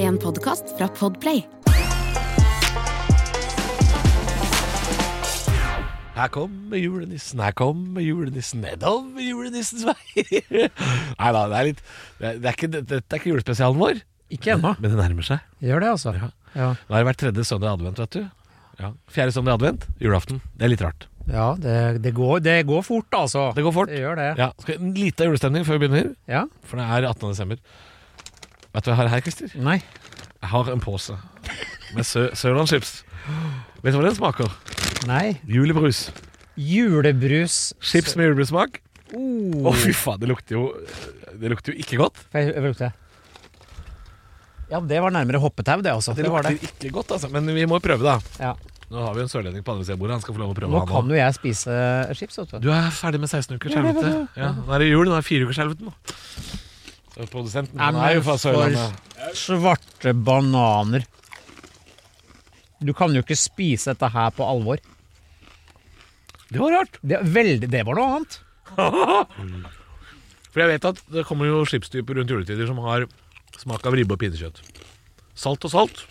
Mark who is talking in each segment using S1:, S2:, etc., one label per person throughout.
S1: En podkast fra Podplay.
S2: Her kommer julenissen, her kommer julenissen, nedover julenissens veier. Nei da, det er litt det er, det er ikke, det, Dette er ikke julespesialen vår,
S3: Ikke ennå.
S2: Ah, men det nærmer seg.
S3: Gjør det, altså.
S2: Ja.
S3: Ja.
S2: Nå er det hver tredje søndag i advent, vet du. Ja. Fjerde søndag i advent, julaften. Det er litt rart.
S3: Ja, det, det, går, det går fort, altså.
S2: Det går fort.
S3: Det gjør det.
S2: Ja. Skal, en liten julestemning før vi begynner,
S3: Ja?
S2: for det er 18. desember. Vet du hva jeg har her, Christer?
S3: Nei.
S2: Jeg har en pose med sø Sørlandschips. Vet du hva den smaker?
S3: Nei.
S2: Julebrus.
S3: Julebrus
S2: Chips med julebrusmak. Å,
S3: Oh.
S2: fy faen, det lukter jo Det lukter jo ikke godt.
S3: Får jeg jeg brukte det. Ja, det var nærmere hoppetau, det, altså.
S2: Det
S3: Det var
S2: lukter
S3: det.
S2: ikke godt, altså. Men vi må prøve, da.
S3: Ja.
S2: Nå har vi en sørlending på andre siden av bordet. Han skal få lov å prøve
S3: Nå
S2: han
S3: kan
S2: også.
S3: jo jeg spise chips, vet du.
S2: Du er ferdig med 16 ukers
S3: Ja, det var
S2: helvete.
S3: det.
S2: Ja, nå er det jul. Nå er det fire ukers helvete. nå. Så Produsenten han
S3: Nei,
S2: er
S3: men
S2: jo fra
S3: for-
S2: Sørlandet.
S3: Svarte bananer. Du kan jo ikke spise dette her på alvor.
S2: Det var rart.
S3: Det, er veldig, det var noe annet.
S2: For jeg vet at det kommer jo skipstyper rundt juletider som har smak av ribbe og pinnekjøtt. Salt og salt.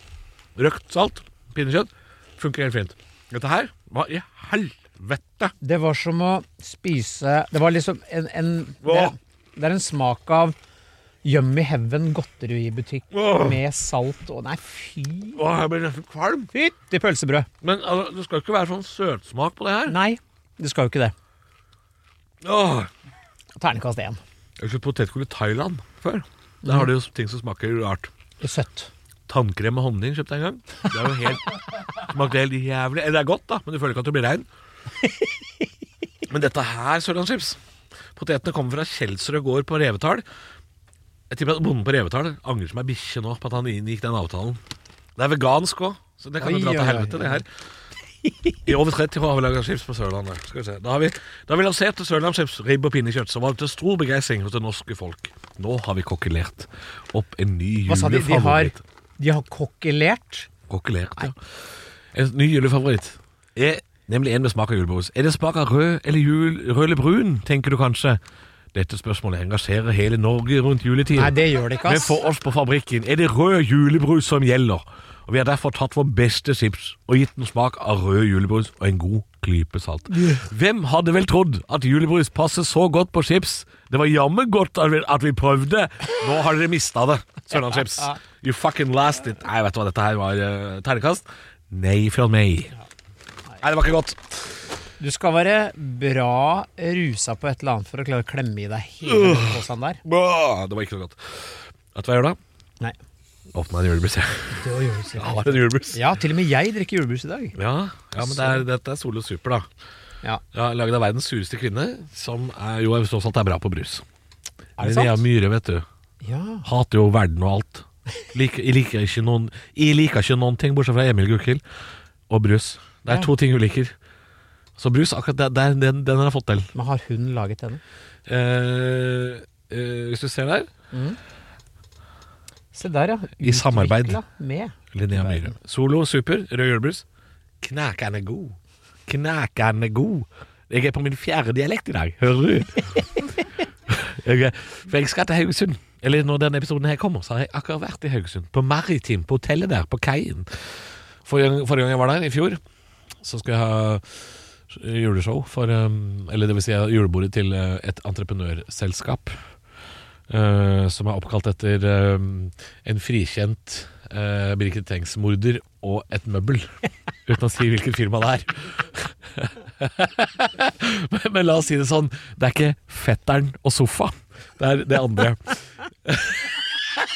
S2: Røkt salt. Pinnekjøtt. Funker helt fint. Dette her Hva i helvete?
S3: Det var som å spise Det var liksom en, en det,
S2: Åh.
S3: det er en smak av Yummy Heaven godteributikk
S2: Åh.
S3: med salt og Nei, fy
S2: Å, jeg blir nesten kvalm.
S3: Fytti pølsebrød.
S2: Men altså, det skal ikke være sånn søtsmak på det her.
S3: Nei, det skal jo ikke det.
S2: Åh.
S3: Ternekast én.
S2: Jeg kjøpte potetgull i Thailand før. Der har de jo ting som smaker rart.
S3: Det er Søtt.
S2: Tannkrem med honning kjøpte jeg en gang. Det er jo helt, smakte helt jævlig. Eller det er godt, da, men du føler ikke at du blir rein. Men dette her, Sørlandschips Potetene kommer fra Kjelsrød gård på Revetal. Jeg tipper at bonden på Revetal angrer som ei bikkje nå på at han inngikk den avtalen. Det er vegansk òg, så det kan jo
S3: Oi,
S2: dra til
S3: oi, oi.
S2: helvete, det her. I over 30 år har vi laga chips på Sørlandet. Skal vi se. Da har vi, da har vi lanserte Sørlandschips ribbe og pinnekjøtt, som var til stor begeistring hos det norske folk. Nå har vi kokkelert opp en ny
S3: Hva sa de? De har,
S2: julefavoritt.
S3: de har kokkelert.
S2: Kokkelert, ja. En ny julefavoritt er nemlig en med smak av julebrus. Er det smak av rød eller jul, rød eller brun, tenker du kanskje? Dette spørsmålet engasjerer hele Norge rundt juletiden.
S3: Nei, det gjør de ikke,
S2: Men
S3: ass.
S2: for oss på fabrikken er det rød julebrus som gjelder. Og Vi har derfor tatt vår beste chips og gitt den smak av rød julebrus og en god klype salt. Hvem hadde vel trodd at julebrus passer så godt på chips? Det var jammen godt at vi, at vi prøvde. Nå har dere mista det, Sørlandschips. You fucking last it. Nei, vet du hva, dette her var uh, ternekast. Nei fra meg. Nei, det var ikke godt.
S3: Du skal være bra rusa på et eller annet for å klare å klemme i deg hele den posen der.
S2: Åh, Det var ikke så godt. Vet du hva jeg gjør da?
S3: Nei.
S2: Åpna en julebrus, jeg.
S3: Det gjør du
S2: Jeg
S3: sikkert.
S2: har en julebrus.
S3: Ja, til og med jeg drikker julebrus i dag.
S2: Ja, ja men det er, dette er Solo Super, da.
S3: Ja.
S2: Ja, Laget av verdens sureste kvinne, som er, jo tross alt er bra på brus.
S3: Er det
S2: Linnea
S3: sant?
S2: Myhre, vet du.
S3: Ja.
S2: Hater jo verden og alt. Liker, jeg, liker ikke noen, jeg liker ikke noen ting, bortsett fra Emil Gukild og brus. Det er
S3: Ja.
S2: to ting hun liker. Så brus, akkurat der, der, den, den har jeg fått til.
S3: Men har hun laget denne?
S2: Eh, eh, hvis du ser der
S3: Se der, ja.
S2: I samarbeid.
S3: Utvikla Med.
S2: Linnea Myhre. Solo Super, rød julebrus. Knækende god. Knækende god. Jeg er på min fjerde dialekt i dag, hører du? jeg, er- for jeg skal til Haugesund. Eller når denne episoden her kommer, så har jeg akkurat vært i Haugesund. På Maritim, på hotellet der, på kaien. Forrige, forrige gang jeg var der, i fjor, så skal jeg ha eh, juleshow for um, Eller det vil si julebordet til uh, et entreprenørselskap. eh, som er oppkalt etter um, en frikjent eh, Birgit Tengs-morder og et møbel. Uten å si hvilket firma det er. men, men la oss si det sånn, det er ikke fetteren og sofa. Det er det andre.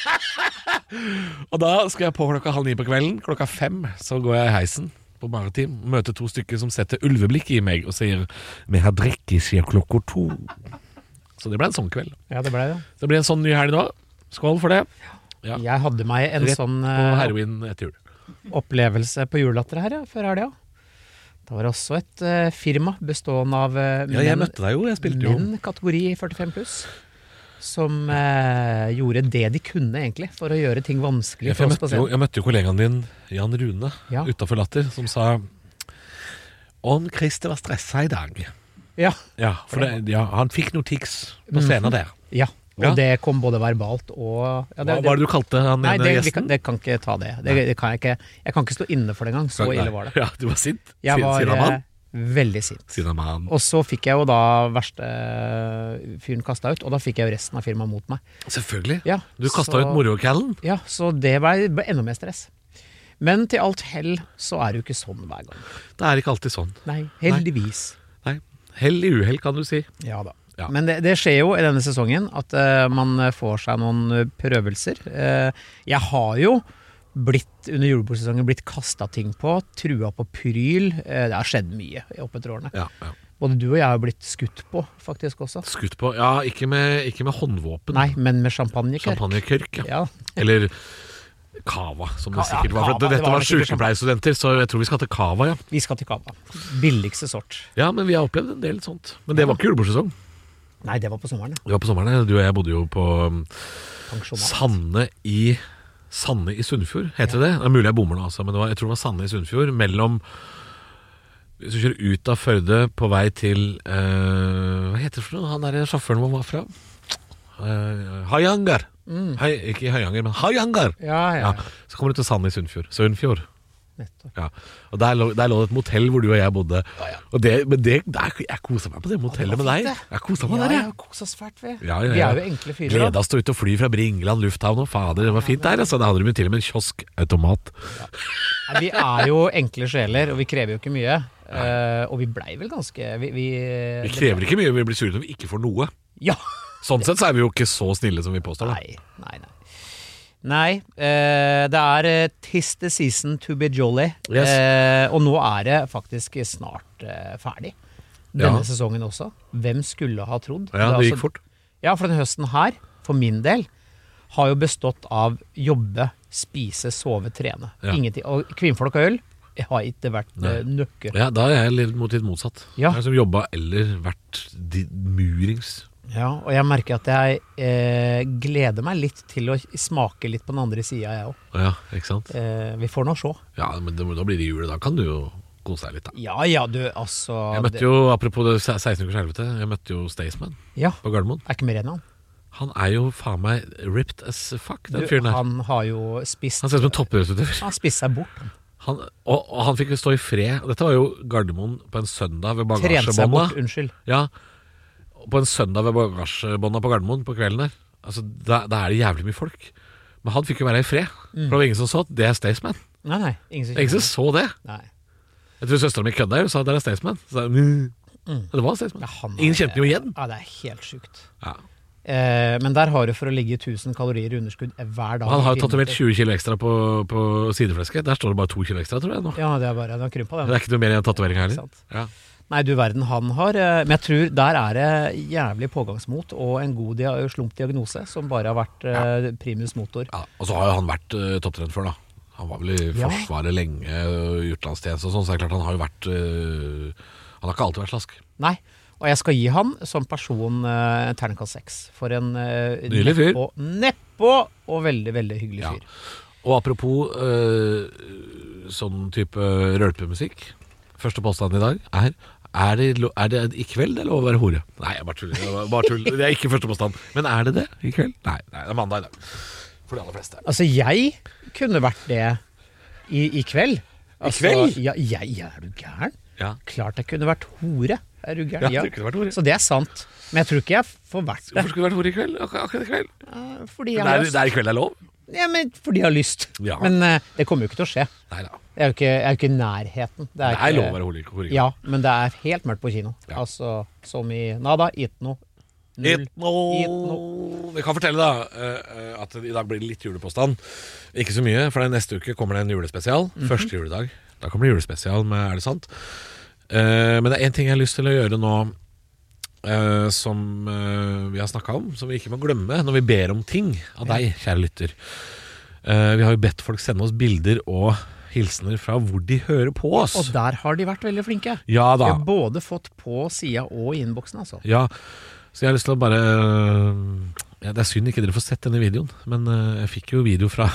S2: og da skal jeg på klokka halv ni på kvelden. Klokka fem så går jeg i heisen på Maritim. Møter to stykker som setter ulveblikk i meg og sier 'Vi har drikke siden klokka to'. Så det ble en sånn kveld.
S3: Ja, det ble det.
S2: Det blir en sånn ny helg nå. Skål for det. Ja.
S3: Jeg hadde meg en
S2: Rett
S3: sånn
S2: på
S3: eh,
S2: heroin etter jul.
S3: opplevelse på julelatter her, ja, før helga. Da var det også et eh, firma bestående av eh,
S2: Ja, jeg
S3: menn-
S2: møtte deg jo. Jeg spilte jo.
S3: menn kategori 45 pluss. Som eh, gjorde det de kunne, egentlig, for å gjøre ting vanskelig
S2: Ja, for
S3: for
S2: jeg,
S3: oss på
S2: møtte jo
S3: scenen.
S2: jeg møtte jo kollegaen din, Jan Rune,
S3: Ja.
S2: utafor Latter, som sa Om Christer var stressa i dag.
S3: Ja,
S2: Mhm. Ja, for det, ja, han fikk noe tics på scenen der.
S3: ja,
S2: Ja.
S3: Og det kom både verbalt og ja,
S2: Hva var det du kalte han
S3: Nei,
S2: ene
S3: det, vi
S2: gjesten?
S3: kan, det kan ikke ta det. det, det kan jeg, ikke, jeg kan ikke stå inne for det engang. Så
S2: Nei.
S3: ille var det.
S2: Ja, du var sint?
S3: Jeg
S2: Sin-
S3: var
S2: Sinnamann?
S3: eh, veldig sint.
S2: Sinnamann.
S3: Og så fikk jeg jo da verste fyren kasta ut, og da fikk jeg jo resten av firmaet mot meg.
S2: Selvfølgelig.
S3: Ja,
S2: Du kasta
S3: så-
S2: ut morocallen.
S3: Ja, så det ble, ble enda mer stress. Men til alt hell så er det jo ikke sånn hver gang.
S2: Det er ikke alltid sånn.
S3: Nei, heldigvis.
S2: Nei. Hell i uhell, kan du si.
S3: Ja da.
S2: Ja.
S3: Men det, det skjer jo i denne sesongen at eh, man får seg noen eh, prøvelser. Eh, jeg har jo blitt under julebordsesongen blitt kasta ting på, trua på pryl. Eh, det har skjedd mye opp etter årene.
S2: Ja, ja.
S3: Både du og jeg har blitt skutt på, faktisk også.
S2: Skutt på Ja, ikke med, ikke med håndvåpen.
S3: Nei, men med champagnekørk.
S2: Champagnekørk. Ja.
S3: Ja.
S2: Eller Cava, som det
S3: Ka- ja,
S2: sikkert var. For
S3: Cava, det
S2: dette
S3: var
S2: var
S3: vel sikkert
S2: sykepleierstudenter, så jeg tror vi skal til Cava, ja.
S3: Vi skal til Kava. Billigste sort.
S2: Ja, men vi har opplevd en del sånt. Men det var ikke julebordsesong.
S3: Nei, det var på sommeren. ja.
S2: Det var på sommeren. ja. Du og jeg bodde jo på um,
S3: Pensjonat.
S2: Sande i Sande i Sunnfjord, heter det det? Det er mulig jeg bommer nå, altså, men det var, jeg tror det var Sande i Sunnfjord. Mellom Hvis du kjører ut av Førde på vei til eh, Hva heter det for noe? Han derre sjåføren vår var fra? Eh, Høyanger. Hei, ikke Høyanger, men Høyanger!
S3: Ja, Mm. ja,
S2: Ja,
S3: ja.
S2: så kommer du til Sande i Sunnfjord. Sunnfjord.
S3: Nettopp.
S2: Ja. Og der lå, der lå det et motell hvor du og jeg bodde. Og det, men det, der, jeg kosa meg på det motellet
S3: var
S2: med deg.
S3: fint, det.
S2: Jeg kosa meg
S3: Ja,
S2: der,
S3: ja,
S2: jeg.
S3: kosa oss fælt, vi.
S2: Ja, ja,
S3: Vi
S2: ja.
S3: er jo enkle fyrer. da.
S2: Gleda oss til å ut og fly fra Bringeland lufthavn. Og fader, det var fint der. Altså, da hadde de til og med en kioskautomat.
S3: Nei, Vi er jo enkle sjeler, og vi krever jo ikke mye. Eh, og vi blei vel ganske Vi, vi,
S2: Vi krever ikke mye, vi blir sure når vi ikke får noe.
S3: Ja!
S2: Sånn sett så er vi jo ikke så snille som vi påstår. Da.
S3: Nei, nei, nei. Nei, eh, det er eh, tis the season to be jolly.
S2: Yes.
S3: Eh, og nå er det faktisk snart eh, ferdig. Denne
S2: Ja.
S3: sesongen også. Hvem skulle ha trodd?
S2: Ja, det
S3: er
S2: gikk
S3: altså-
S2: fort.
S3: Ja, for denne høsten her, for min del, har jo bestått av jobbe, spise, sove, trene.
S2: Ja.
S3: Ingenting. Og kvinnfolk og øl har ikke vært
S2: Nei.
S3: eh, nøkke.
S2: Ja, da er jeg litt, mot- litt motsatt.
S3: Ja.
S2: Jeg som jobba eller vært di- murings.
S3: Ja, og jeg merker at jeg eh, gleder meg litt til å smake litt på den andre sida, jeg òg.
S2: Ja, ikke sant?
S3: Eh, vi får nå se.
S2: Ja, men det, da blir det jul. Da kan du jo kose deg litt, da.
S3: Ja ja, du, altså
S2: Jeg møtte jo, apropos det se- 16 ukers helvete, jeg møtte jo Staysman
S3: det, Ja,
S2: på Gardermoen.
S3: er ikke mer enn han.
S2: Han er jo faen meg ripped as fuck,
S3: Du,
S2: den fyren der.
S3: han har jo spist
S2: Han ser ut som en toppidrettsutøver.
S3: Han spiste seg bort. han.
S2: Han, og, og han fikk jo stå i fred. Dette var jo Gardermoen på en søndag ved
S3: Trente seg bort,
S2: bagasjebånda.
S3: unnskyld.
S2: Ja, på en søndag ved bagasjebånda på Gardermoen på kvelden der. Altså, da, da er det jævlig mye folk. Men han fikk jo være i fred.
S3: Mm.
S2: For det var ingen som så at det er Staysman.
S3: Nei, nei. Ingen som
S2: Ingen som
S3: kjenner
S2: så det.
S3: det. Nei.
S2: Jeg tror søstera mi kødda og sa at det er Staysman. Så sa jeg, «Mm». Ja, Det var Staysman.
S3: Ja, han er-
S2: Ingen kjente den jo igjen.
S3: Ja, det er helt sjukt.
S2: Ja.
S3: Eh, men der har du for å ligge 1000 kalorier i underskudd hver dag.
S2: Han har
S3: i
S2: jo
S3: fire
S2: tatovert
S3: minutter.
S2: 20 kilo ekstra på, på sideflesket. Der står det bare 2 kilo ekstra, tror jeg. nå
S3: Ja, det er bare, den har krympa,
S2: Det
S3: den.
S2: er ikke noe mer enn tatoveringa
S3: Ikke
S2: heller.
S3: sant?
S2: Ja.
S3: Nei, du verden, han har eh, Men jeg tror der er det jævlig pågangsmot og en god dia eh, slump diagnose som bare har vært eh, primus motor.
S2: Ja, og så har jo han vært uh, topptrent før, da. Han var vel i
S3: Ja.
S2: Forsvaret lenge, og i utenlandstjeneste og sånn, så det er klart han har jo vært eh, Han har ikke alltid vært slask.
S3: Nei. Og jeg skal gi han som person eh, terningkast seks. For en eh,
S2: Nydelig fyr.
S3: Nedpå, nedpå og veldig, veldig hyggelig
S2: Ja.
S3: fyr.
S2: Og apropos eh, sånn type rølpemusikk. Første påstand i dag er er det, lo- er det i kveld det er lov å være hore? Nei, jeg bare tuller. Jeg bare tuller. Det er ikke første påstand. Men er det det i kveld? Nei, nei det er mandag i dag. For de aller fleste.
S3: Altså, jeg kunne vært det i, i kveld. Altså,
S2: kveld?
S3: Ja, jeg, ja, er du gæren?
S2: Ja.
S3: Klart jeg kunne vært hore. Er du
S2: Ja,
S3: gæren?
S2: du kunne vært hore.
S3: Så det er sant. Men jeg tror ikke jeg får vært det.
S2: Hvorfor skulle du vært hore i kveld? Akkurat, akkurat i kveld?
S3: eh, Fordi
S2: Det
S3: jeg har
S2: er,
S3: lyst.
S2: det er i kveld det er lov?
S3: Ja, men fordi jeg har lyst.
S2: Ja.
S3: Men eh, det kommer jo ikke til å skje.
S2: Nei da.
S3: Jeg er jo ikke, jeg er jo ikke i nærheten. Det
S2: Det
S3: ikke,
S2: er lov å være hore i hore i kveld.
S3: Ja, men det er helt mørkt på kino.
S2: Ja.
S3: Altså som i Nada, Itno. Null.
S2: Itno. Jeg kan fortelle da eh, eh, at i dag blir det litt julepåstand. Ikke så mye, for neste uke kommer det en julespesial. Første juledag. Da kommer det julespesial med Er det sant? Eh, men det er én ting jeg har lyst til å gjøre nå eh, som eh, vi har snakka om, som vi ikke må glemme når vi ber om ting av deg, kjære lytter. Eh, vi har jo bedt folk sende oss bilder og hilsener fra hvor de hører på
S3: Og
S2: oss.
S3: der har de vært veldig flinke.
S2: Ja
S3: Vi
S2: da.
S3: har både fått på sida og i innboksen, altså.
S2: Ja, så jeg har lyst til å bare eh, ja, Det er synd ikke dere får sett denne videoen, men eh, jeg fikk jo video fra,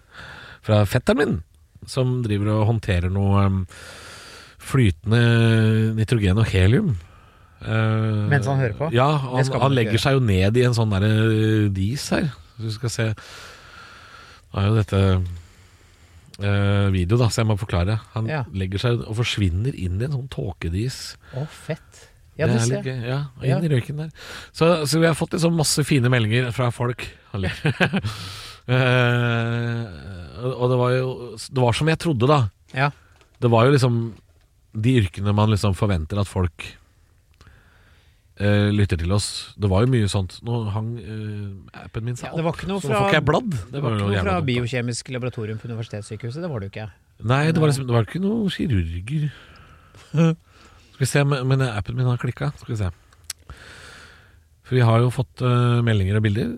S2: fra fetteren min, som driver og håndterer noe eh, flytende nitrogen og helium Eh,
S3: Mens han hører på?
S2: Ja, han,
S3: Det skal man
S2: han
S3: ikke
S2: legger
S3: gjøre.
S2: seg jo ned i en sånn der eh, dis her. Så vi skal se Nå er jo dette eh, video, da, så jeg må forklare. Han
S3: Ja.
S2: legger seg og forsvinner inn i en sånn tåkedis.
S3: Å, fett.
S2: det
S3: Ja, du
S2: er
S3: ser.
S2: litt gøy. Ja, og inn i røyken der. Så, så vi har fått liksom masse fine meldinger fra folk. Han ler. Eh, og og det var jo Det var som jeg trodde, da.
S3: Ja.
S2: Det var jo liksom de yrkene man liksom forventer at folk eh, lytter til oss. Det var jo mye sånt. Nå hang eh, appen min seg
S3: Ja,
S2: opp,
S3: det var ikke noe
S2: så nå får ikke
S3: fra
S2: jeg bladd.
S3: Det var ikke
S2: jo
S3: noe
S2: jævla dumt,
S3: fra
S2: da.
S3: biokjemisk laboratorium på universitetssykehuset, det var det jo ikke.
S2: Nei, det var, liksom, det var ikke noen kirurger. Skal vi se, men men appen min har klikka. Skal vi se. For vi har jo fått eh, meldinger og bilder.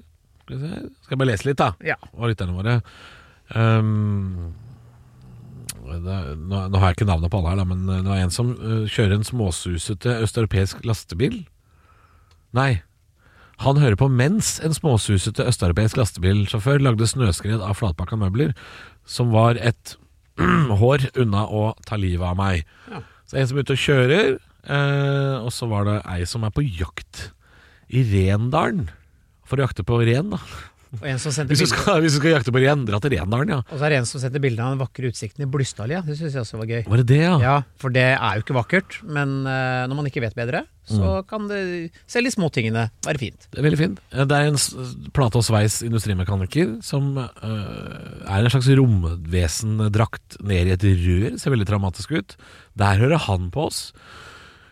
S2: Skal, vi se. Skal jeg bare lese litt, da?
S3: Ja.
S2: Og lytterne våre. Ehm, det, nå, nå har jeg ikke navnet på alle her, da, men det var en som eh, kjører en småsusete østeuropeisk lastebil. Nei. Han hører på mens en småsusete østeuropeisk lastebilsjåfør lagde snøskred av flatpakka møbler, som var et hår unna å ta livet av meg.
S3: Ja.
S2: Så en som er ute og kjører, eh, og så var det ei som er på jakt i Rendalen. For å jakte på ren, da.
S3: Og en som sendte
S2: Hvis du
S3: bilder.
S2: skal, hvis du skal jakte på ren, dra til Rendalen, ja.
S3: Og så er det en som setter bilde av den vakre utsikten i Blystadlia. Det syns jeg også var gøy.
S2: Var det det, ja?
S3: Ja, For det er jo ikke vakkert, men eh, når man ikke vet bedre, så
S2: Mm.
S3: kan det selv de små tingene være fint.
S2: Det er veldig fint. Eh, Det er en s- plate- og sveis industrimekaniker som eh, er en slags romvesendrakt ned i et rør. Ser veldig dramatisk ut. Der hører han på oss.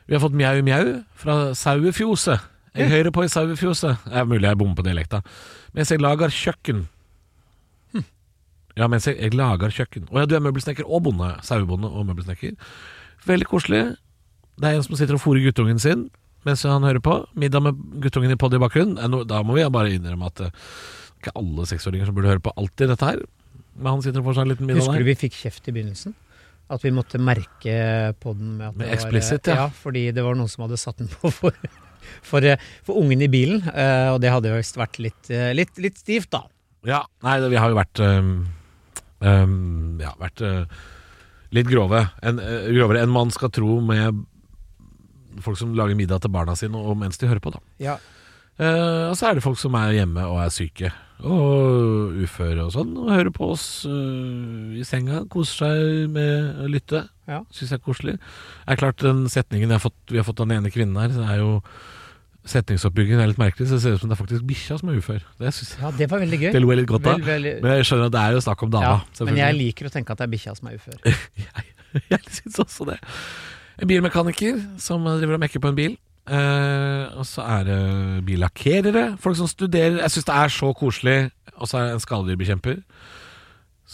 S2: Vi har fått mjau mjau fra Sauefjoset. Jeg hører på i Sauefjoset. Det er mulig jeg bommer på dialekta. Mens jeg lager kjøkken.
S3: Hm.
S2: Ja, mens jeg, jeg lager kjøkken. Å ja, du er møbelsnekker og bonde. Sauebonde og møbelsnekker. Veldig koselig. Det er en som sitter og fôrer guttungen sin mens han hører på. Middag med guttungen i poddy i bakgrunnen. Eh, nå- Da må vi bare innrømme at eh, ikke alle seksåringer som burde høre på alltid dette her. Men han sitter og får seg en liten middag
S3: Husker
S2: der.
S3: du vi fikk kjeft i begynnelsen? At vi måtte merke podden med at
S2: Med
S3: det var eh,
S2: explicit, ja.
S3: ja. Fordi det var noen som hadde satt den på for, for, eh, for ungen i bilen, eh, og det hadde jo visst vært litt, eh, litt, litt stivt, da.
S2: Ja, nei, det, vi har jo vært øhm, øhm, Ja, vært øh, litt grove en, øh, Grovere enn man skal tro med folk som lager middag til barna sine Og mens de hører på da
S3: Ja.
S2: Eh, Og så er det folk som er hjemme og er syke Og uføre og sånn Og hører på oss øh, i senga Koser seg med å lytte
S3: Ja.
S2: Synes jeg er koselig Det er klart den setningen jeg har fått, vi har fått av den ene kvinnen her Det er jo Setningsoppbyggingen er litt merkelig Så det ser ut som det er faktisk bikkja som er ufør Det synes jeg
S3: ja, det var veldig gøy.
S2: det lo jeg litt godt av
S3: Vel, veldig-
S2: men jeg skjønner at det er jo snakk om dama.
S3: ja, men jeg
S2: selvfølgelig. Eh,
S3: liker å tenke at det er bikkja som er ufør.
S2: jeg, syns også det. En bilmekaniker som driver og mekker på en bil. Eh, og så er det billakkerere, folk som studerer. Jeg syns det er så koselig. Og så er det en skadedyrbekjemper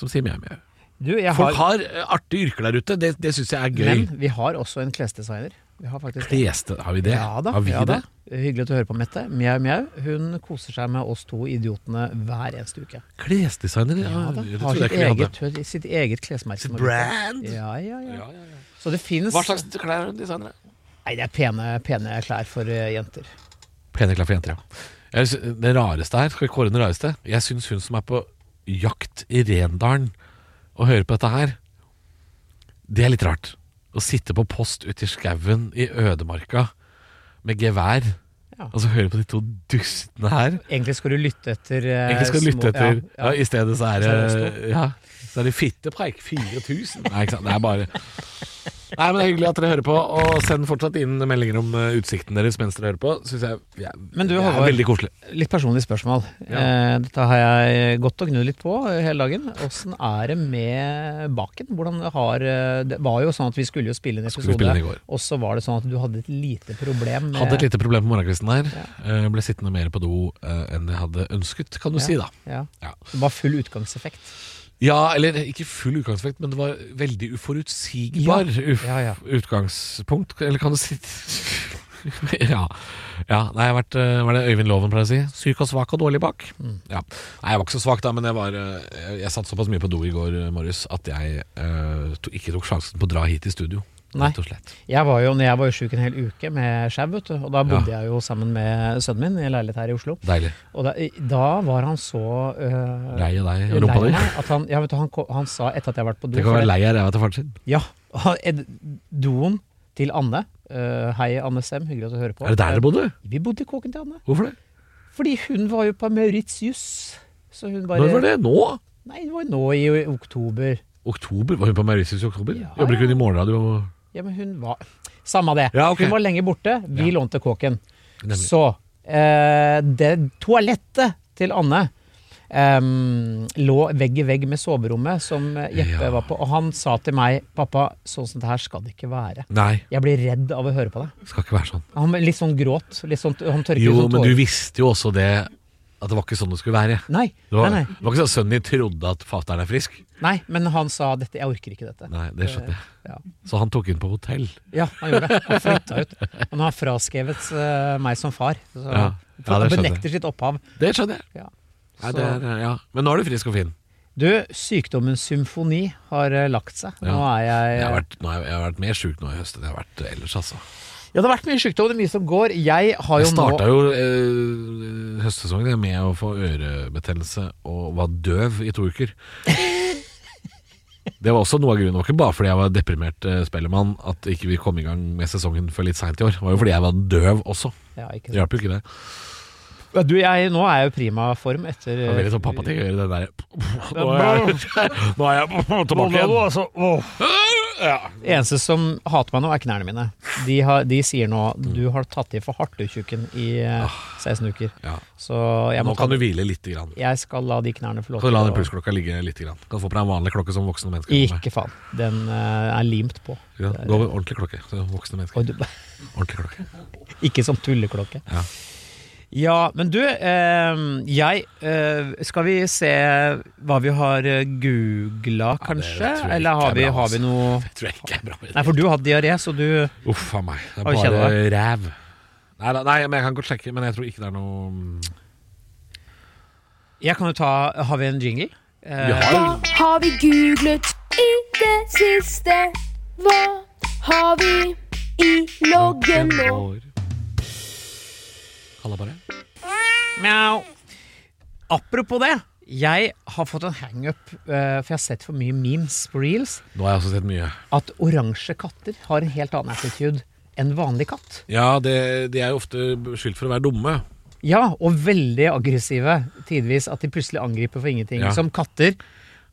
S2: som sier mjau, mjau.
S3: Du, jeg
S2: Folk
S3: har,
S2: har eh, artige yrker der ute. Det, det syns jeg er gøy.
S3: men vi har også en klesdesigner. Vi har faktisk det.
S2: Fleste, har vi det?
S3: Ja da,
S2: har vi
S3: ja da.
S2: det?
S3: Hyggelig at du hører på, Mette. Mjau, mjau. Hun koser seg med oss to idiotene hver eneste uke.
S2: Klesdesignere? Ja,
S3: da.
S2: det
S3: Har
S2: trodde jeg
S3: sitt
S2: ikke vi hadde.
S3: eget, sitt eget klesmerke.
S2: Sitt
S3: som er
S2: brand?
S3: ute. Ja, ja, ja.
S2: Ja, ja, ja.
S3: Så det finnes
S2: Hva slags klær har designere?
S3: Nei, det er pene, pene klær for eh, jenter.
S2: Pene klær for jenter, ja. Jeg, sy- det rareste her, skal vi kåre den rareste? Jeg syns hun som er på jakt i Rendalen og hører på dette her, det er litt rart. Å sitte på post ute i skauen i ødemarka med gevær,
S3: Ja.
S2: og så høre på de to dustene her.
S3: Egentlig skal du lytte etter eh,
S2: Egentlig skal du lytte
S3: små-
S2: etter. Ja,
S3: Ja, ja.
S2: I stedet så er
S3: Så er det
S2: det ja, Så er det fittepreik. 4000. Nei, ikke sant. Det er bare Nei, men det er hyggelig at dere hører på, og send fortsatt inn meldinger om eh, utsikten deres mens dere hører på. Synes jeg ja,
S3: Men du,
S2: det er
S3: Håvard.
S2: veldig koselig.
S3: Litt personlig spørsmål. Eh, dette har jeg gått og gnudd litt på eh, hele dagen. Åssen er det med baken? Hvordan har eh, Det var jo sånn at vi skulle jo spille en
S2: vi spille
S3: episode,
S2: den i går?
S3: og så var det sånn at du hadde et lite problem med
S2: Hadde et lite problem på morgenkvisten her. Eh, Ble sittende mer på do eh, enn jeg hadde ønsket, kan du
S3: Ja.
S2: si da.
S3: ja.
S2: Ja.
S3: Det var full utgangseffekt.
S2: Ja, eller ikke full utgangsvekt, men det var veldig uforutsigbar uf
S3: Ja, ja.
S2: utgangspunkt. Eller kan du si ja. ja. Nei, jeg har vært eh, Var det Øyvind Loven pleier å si? Syk og svak og dårlig bak.
S3: Mm.
S2: Ja. Nei, jeg var ikke så svak da, men jeg var eh, Jeg, jeg satt såpass mye på do i går eh, morges at jeg eh, to, ikke tok sjansen på å dra hit i studio.
S3: Nei.
S2: Rett og slett.
S3: Jeg var jo, når jeg var jo sjuk en hel uke med skjau, vet du, og da bodde jeg jo sammen med sønnen min i en leilighet her i Oslo.
S2: Deilig.
S3: Og da, da var han så øh,
S2: Lei av deg og rumpa
S3: lei
S2: di.
S3: meg at han, ja, vet du, han, ko- han sa etter at jeg har vært på do
S2: Tenk å
S3: for
S2: være
S3: det-
S2: lei av ræva til faren sin.
S3: Ja. og han- Ed- Doen til Anne Eh, hei, Anne Sem, hyggelig at du hører på.
S2: Er det der dere bodde?
S3: Vi bodde i kåken til Anne.
S2: Hvorfor det?
S3: Fordi hun var jo på Mauritius. Så hun bare
S2: Når var det? Nå?
S3: Nei, det var nå i oktober.
S2: Oktober? Var hun på Mauritius i oktober?
S3: Ja,
S2: Jobber ikke hun i morgenradio?
S3: Ja, men hun var Samme det.
S2: Ja, ok.
S3: Hun var lenge borte. Vi lånte kåken.
S2: Nemlig.
S3: Så eh, det toalettet til Anne em, lå vegg i vegg med soverommet som Jeppe
S2: Ja.
S3: var på. Og han sa til meg, pappa, sånn som det her skal det ikke være.
S2: Nei,
S3: Jeg blir redd av å høre på deg.
S2: det skal ikke være sånn.
S3: Han litt sånn gråt. Litt sånn, han tørket
S2: Jo,
S3: sånn
S2: men
S3: tårer.
S2: du visste jo også det at det var ikke sånn det skulle være.
S3: Nei,
S2: Det var,
S3: nei, nei.
S2: det var ikke sånn at sønnen din trodde at fatter'n er frisk.
S3: nei, men han sa dette, jeg orker ikke dette. Eh,
S2: Nei, det skjønner jeg.
S3: Ja.
S2: Så han tok inn på hotell.
S3: Ja, han gjorde det. Han flytta ut. Han har fraskrevet eh, meg som far. Så
S2: Ja. Ja,
S3: han
S2: det skjønner
S3: benekter sitt opphav.
S2: Det skjønner jeg.
S3: Ja.
S2: Nei,
S3: Så-
S2: det er, ja. Men nå er du frisk og fin.
S3: Du, sykdommens symfoni har eh, lagt seg. Nå
S2: Ja.
S3: er jeg,
S2: Jeg har vært, nå har jeg, jeg har vært mer sjuk nå i høst enn jeg har vært ellers, altså.
S3: Ja, det har vært mye sykdom, det er mye som går. Jeg har jo
S2: Jeg starta jo eh, høstsesongen med å få ørebetennelse og var døv i to uker. Det var også noe av grunnen. Det var ikke bare fordi jeg var deprimert eh, spellemann at ikke vi kom i gang med sesongen før litt seint i år. Det var jo fordi jeg var døv også.
S3: nå ja, ikke
S2: Det hjalp jo ikke det.
S3: sant. Du, jeg, Nå er jeg jo i prima form etter
S2: Det var veldig sånn pappating å gjøre det der Nå er jeg, nå er jeg tilbake igjen.
S3: Det eh, eneste som hater meg nå, er knærne mine. De, har, de sier nå
S2: Mm.
S3: du har tatt i for hardt, du tjukken, i eh, 16 uker.
S2: Ja.
S3: Så jeg, må
S2: Ah. Nå
S3: ta,
S2: kan du hvile lite grann.
S3: jeg skal la de knærne få lov
S2: Kan du la den
S3: å-
S2: pulsklokka ligge lite grann. Kan du få på deg en vanlig klokke som voksne mennesker går med.
S3: Ikke faen. Den eh, er limt på.
S2: Ja, Gå over ordentlig klokke. så Voksne mennesker.
S3: Og du,
S2: Ordentlig klokke.
S3: ikke som tulleklokke.
S2: Ja.
S3: Ja, men du, eh, jeg eh, Skal vi se hva vi har eh, googla,
S2: tror
S3: kanskje?
S2: jeg ikke
S3: Eller har
S2: er
S3: vi,
S2: bra,
S3: har vi
S2: altså.
S3: noe
S2: Tror jeg ikke er bra. idé.
S3: Nei, for du har hatt diaré, så du
S2: Uff a meg. Det
S3: Har du
S2: er bare
S3: kjeda
S2: ræv. Nei, da- nei, men jeg kan godt sjekke, men jeg tror ikke det er noe mm,
S3: Jeg kan jo ta Har vi en jingle? Eh,
S2: Vi har jo
S1: har vi googlet i det siste? Hva har vi i loggen nå?
S2: Kalla bare.
S3: Mjau. Apropos det. Jeg har fått en hangup, eh, for jeg har sett for mye memes på reels,
S2: Nå har jeg også sett mye.
S3: at oransje katter har en helt annen attitude enn vanlig katt.
S2: Ja, det, de er jo ofte beskyldt for å være dumme.
S3: Ja, og veldig aggressive tidvis. At de plutselig angriper for ingenting.
S2: Ja.
S3: Som katter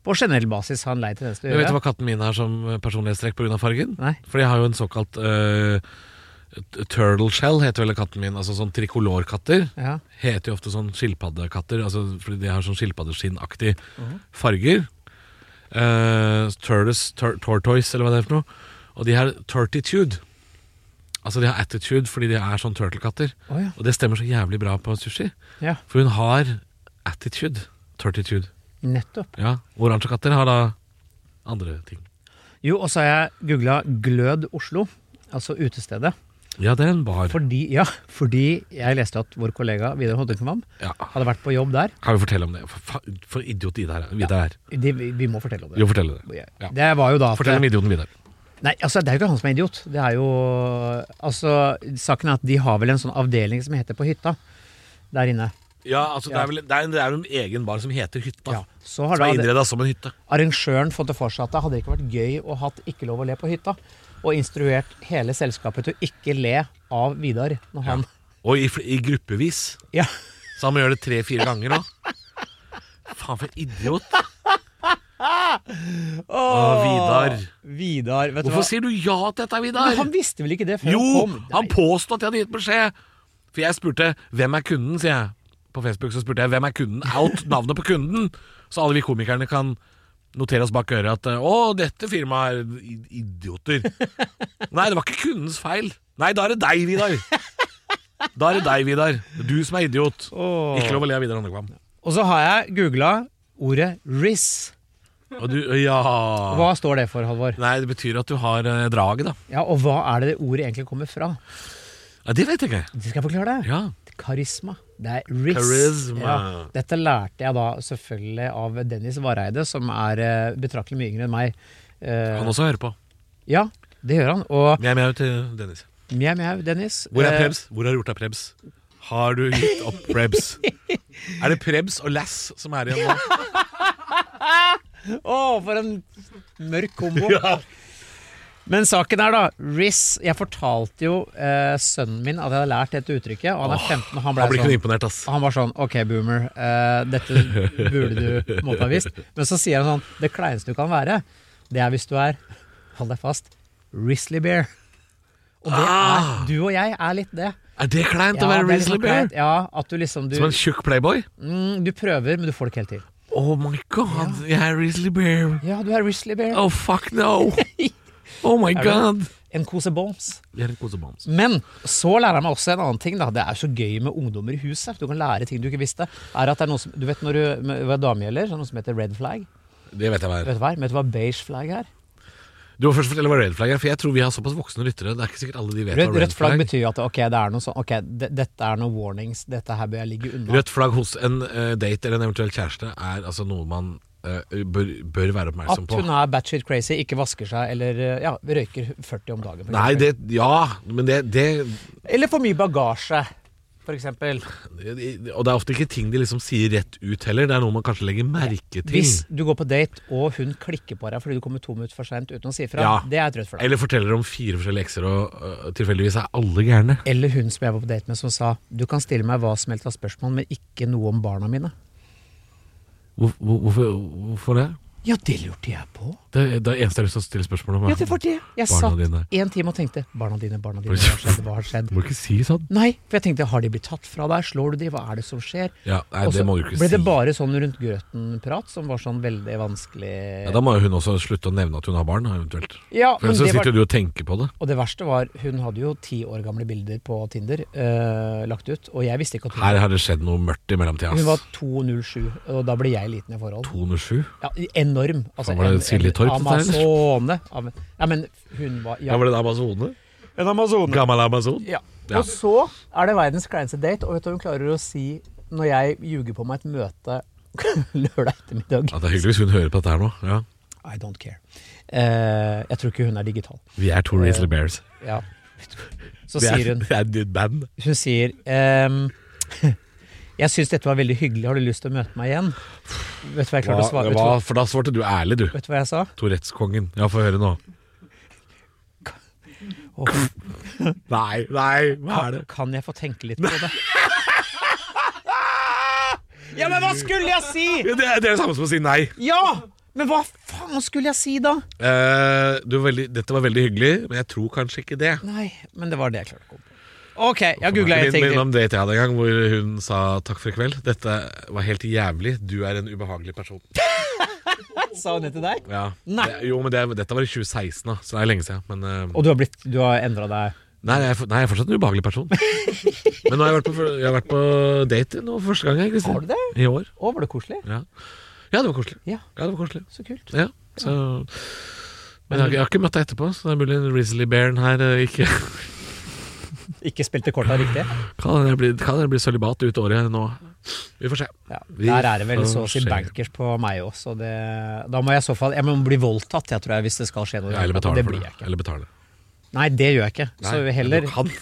S3: på generell basis har en lei tendens til å
S2: Men vet du
S3: gjøre.
S2: hva katten min er som personlighetstrekk pga. fargen?
S3: Nei.
S2: For jeg har jo en såkalt eh, t- turtle shell, heter vel katten min. Altså sånn trikolorkatter.
S3: Ja.
S2: heter jo ofte sånn skilpaddekatter, altså fordi de har sånn skilpaddeskinnaktige farger. Eh, turtles, tur tortoise, eller hva det er for noe. Og de har turtitude. Altså de har attitude fordi de er sånn turtlekatter.
S3: Å ja.
S2: Og det stemmer så jævlig bra på sushi,
S3: ja.
S2: for hun har attitude. Turtitude.
S3: Nettopp.
S2: Ja, Oransje katter har da andre ting.
S3: Jo, og så har jeg googla Glød Oslo, altså utestedet.
S2: Ja, det er en bar.
S3: Fordi, ja, fordi jeg leste at vår kollega Vidar Hodnekvam
S2: Ja.
S3: hadde vært på jobb der.
S2: Kan vi fortelle om det? For, fa- for idiot Vidar er. Vidar er.
S3: De, vi vi må fortelle om det.
S2: Jo, fortell det. Ja.
S3: Det var jo da at
S2: Fortell om idioten Vidar.
S3: Nei, altså det er jo ikke han som er idiot. Det er jo Altså, saken er at de har vel en sånn avdeling som heter På hytta der inne.
S2: Ja, altså
S3: Ja.
S2: Det, er vel, det, er, en- det er jo en egen bar som heter Hytta.
S3: Ja. Så har
S2: Som
S3: da
S2: er
S3: det-
S2: innreda som en hytte.
S3: arrangøren fått det for seg at det hadde ikke vært gøy å hatt Ikke lov å le på hytta, og instruert hele selskapet til å ikke le av Vidar når han
S2: Og i, fl- i gruppevis.
S3: Ja,
S2: Så han må gjøre det tre-fire ganger nå. Faen, for en idiot. Å, Vidar.
S3: Vidar vet
S2: Hvorfor
S3: du hva?
S2: sier du ja til dette, Vidar?
S3: Men Han visste vel ikke det før
S2: jo,
S3: han kom?
S2: han
S3: Nei.
S2: påstod at jeg hadde gitt beskjed. For jeg spurte 'Hvem er kunden?' sier jeg. På Facebook så spurte jeg 'Hvem er kunden?' Out navnet på kunden. Så alle vi komikerne kan notere oss bak øret at 'Å, dette firmaet er i- idioter'. Nei, det var ikke kundens feil. Nei, da er det deg, Vidar. Da er det deg, Vidar. Du som er idiot.
S3: Åh.
S2: Ikke lov å le av Vidar Andekvam.
S3: Og så har jeg googla ordet RIS.
S2: Og du Ja.
S3: Hva står det for, Halvor?
S2: Nei, det betyr at du har eh, draget, da.
S3: Ja, Og hva er det det ordet egentlig kommer fra?
S2: Ja, det vet jeg ikke.
S3: Det skal jeg forklare deg.
S2: Ja.
S3: Karisma. Det er RIS.
S2: Karisma.
S3: Ja. Dette lærte jeg da selvfølgelig av Dennis Vareide, som er eh, betraktelig mye yngre enn meg. Eh,
S2: Kan også høre på.
S3: Ja, det gjør han. Og
S2: Mjau, mjau til Dennis.
S3: Mjau, mjau, Dennis.
S2: Hvor er
S3: Eh,
S2: Prebz? Hvor har du gjort av Prebz? Har du gitt opp Prebz? er det Prebz og Lass som er igjen nå?
S3: Å, for en mørk kombo. Men saken er, da Riz Jeg fortalte jo eh, sønnen min at jeg hadde lært dette uttrykket, og han er 15, og han ble,
S2: Han blir
S3: sånn
S2: ikke noe imponert, ass.
S3: og han var sånn Ok, boomer, eh, dette burde du på en måte ha visst. Men så sier han sånn Det kleineste du kan være, det er hvis du er Hold deg fast Risley Bear. Og det er,
S2: Ah.
S3: du og jeg er litt det.
S2: Er det kleint å være
S3: det er liksom
S2: Risley Bear?
S3: kleint. Ja, at du liksom du,
S2: Som en tjukk playboy?
S3: mm, du prøver, men du får det ikke helt til.
S2: Oh my god, jeg er Risley Bear.
S3: Ja, du er Risley Bear.
S2: Oh fuck no. Oh my
S3: Er du-
S2: god.
S3: En kose bombs.
S2: Jeg er en kosebamse.
S3: Men så lærer jeg meg også en annen ting. da Det er så gøy med ungdommer i huset. Du kan lære ting du ikke visste. Er at det er noe som, Du vet når du hva dame gjelder, så er det noe som heter red flag.
S2: Det vet jeg hva er.
S3: Vet du hva, vet du hva beige flag er?
S2: Du må først fortelle hva red flag er, for jeg tror vi har såpass voksne lyttere. Det er ikke sikkert alle de vet
S3: Rødt,
S2: hva
S3: rødt
S2: red
S3: flagg
S2: flag
S3: betyr jo at ok, det er noe sånn, ok, de, dette er noen warnings, dette her bør jeg ligge unna.
S2: Rødt flagg hos en eh, date eller en eventuell kjæreste er altså noe man eh, bør, bør være oppmerksom
S3: At
S2: på.
S3: hun er batshit crazy, ikke vasker seg eller eh, ja, røyker 40 om dagen. for
S2: Nei,
S3: eksempel.
S2: det Ja, men det, det
S3: Eller for mye bagasje, for eksempel.
S2: Og det er ofte ikke ting de liksom sier rett ut heller. Det er noe man kanskje legger merke til.
S3: Hvis du går på date og hun klikker på deg fordi du kommer to minutter for seint uten å si fra,
S2: Ja.
S3: det er et rødt flagg.
S2: Eller forteller om fire forskjellige ekser, og øh, tilfeldigvis er alle gærne.
S3: Eller hun som jeg var på date med som sa Du kan stille meg hva som helst av spørsmål, men ikke noe om barna mine.
S2: Hvor, hvor, hvorfor, hvorfor det?
S3: Ja, det lurte jeg på.
S2: det? Det er eneste jeg har lyst til å stille spørsmål om. er-
S3: Ja, det var det. Jeg
S2: Barna
S3: satt
S2: dine.
S3: en time og tenkte Barna dine, barna dine, hva har skjedd, hva har skjedd?
S2: Du må ikke si sånn.
S3: Nei, for jeg tenkte har de blitt tatt fra deg, slår du de, hva er det som skjer?
S2: Ja, nei,
S3: Og så
S2: det må du ikke
S3: ble
S2: si.
S3: det bare sånn rundt grøten-prat som var sånn veldig vanskelig
S2: Ja, da må jo hun også slutte å nevne at hun har barn, da, eventuelt.
S3: Ja,
S2: For
S3: men
S2: så
S3: det var,
S2: sitter du og tenker på det.
S3: Og det verste var, hun hadde jo ti år gamle bilder på Tinder eh, lagt ut, og jeg visste ikke at hun,
S2: Her har det skjedd noe mørkt i mellomtida.
S3: hun var
S2: ass.
S3: 207, og da ble jeg liten i forhold.
S2: 207.
S3: Ja, enorm. Altså,
S2: Var det
S3: en-
S2: Silje
S3: en
S2: Torp dette her, eller?
S3: Amazone. Am- Ja, men hun var
S2: Ja,
S3: ja.
S2: var det en amazone?
S3: En amazone.
S2: Gammel amazon?
S3: Ja.
S2: Ja.
S3: Og så er det verdens kleineste date, og vet du hva hun klarer å si når jeg ljuger på meg et møte lørdag ettermiddag?
S2: Ja, det er hyggelig hvis hun hører på dette her nå. Ja.
S3: I don't care. Eh, jeg tror ikke hun er digital.
S2: Vi er to Risley Bears.
S3: Ja. Så
S2: Vi er,
S3: sier hun
S2: vi er et nytt band.
S3: Hun sier ehm, Jeg syns dette var veldig hyggelig, har du lyst til å møte meg igjen? Vet du hva jeg klarte å
S2: Hva,
S3: svare? Vet du
S2: hva,
S3: hva,
S2: for da svarte du ærlig, du.
S3: vet du hva jeg sa?
S2: Tourettes-kongen. Ja, få høre nå.
S3: Åh,
S2: Nei, nei, hva er det?
S3: Kan jeg få tenke litt på det? Ja, men hva skulle jeg si?!
S2: Ja, Det er det, er det samme som å si nei.
S3: Ja! Men hva faen skulle jeg si da?
S2: Eh, du var veldig, dette var veldig hyggelig, men jeg tror kanskje ikke det.
S3: Nei, men det var det jeg klarte å komme på. Ok, jeg googla en
S2: Min-
S3: ting
S2: min
S3: til.
S2: om date jeg hadde en gang hvor hun sa takk for i kveld. Dette var helt jævlig. Du er en ubehagelig person.
S3: Sa hun det til deg?
S2: Ja.
S3: Nei.
S2: Det, jo, men det, dette var i 2016, da, så det er lenge siden. Men, eh,
S3: Og du har, blitt, du har endra deg?
S2: nei, jeg er, for- nei, jeg er fortsatt en ubehagelig person. men nå har jeg vært på, jeg har vært på date nå for første gang. Jeg, Kristin.
S3: Har du det?
S2: I år.
S3: Å, var det koselig?
S2: Ja. ja, det var koselig.
S3: Ja,
S2: Ja, det var koselig.
S3: så kult.
S2: Ja, så... Men jeg, har ikke- jeg har ikke møtt deg etterpå, så det er mulig Risley Bearen her eh, ikke
S3: Ikke spilte korta riktig?
S2: Kan jeg bli, kan jeg bli sølibat ut året nå? Vi får se.
S3: Ja,
S2: Vi
S3: der er det vel så å si
S2: får se.
S3: bankers på meg òg, så det Da må jeg i så fall Jeg må bli voldtatt, jeg tror jeg, hvis det skal skje noe.
S2: Ja, eller betale
S3: det
S2: for
S3: blir
S2: det.
S3: jeg ikke.
S2: Eller betale.
S3: Nei, det gjør jeg ikke. Så
S2: Nei,
S3: heller
S2: Du kan.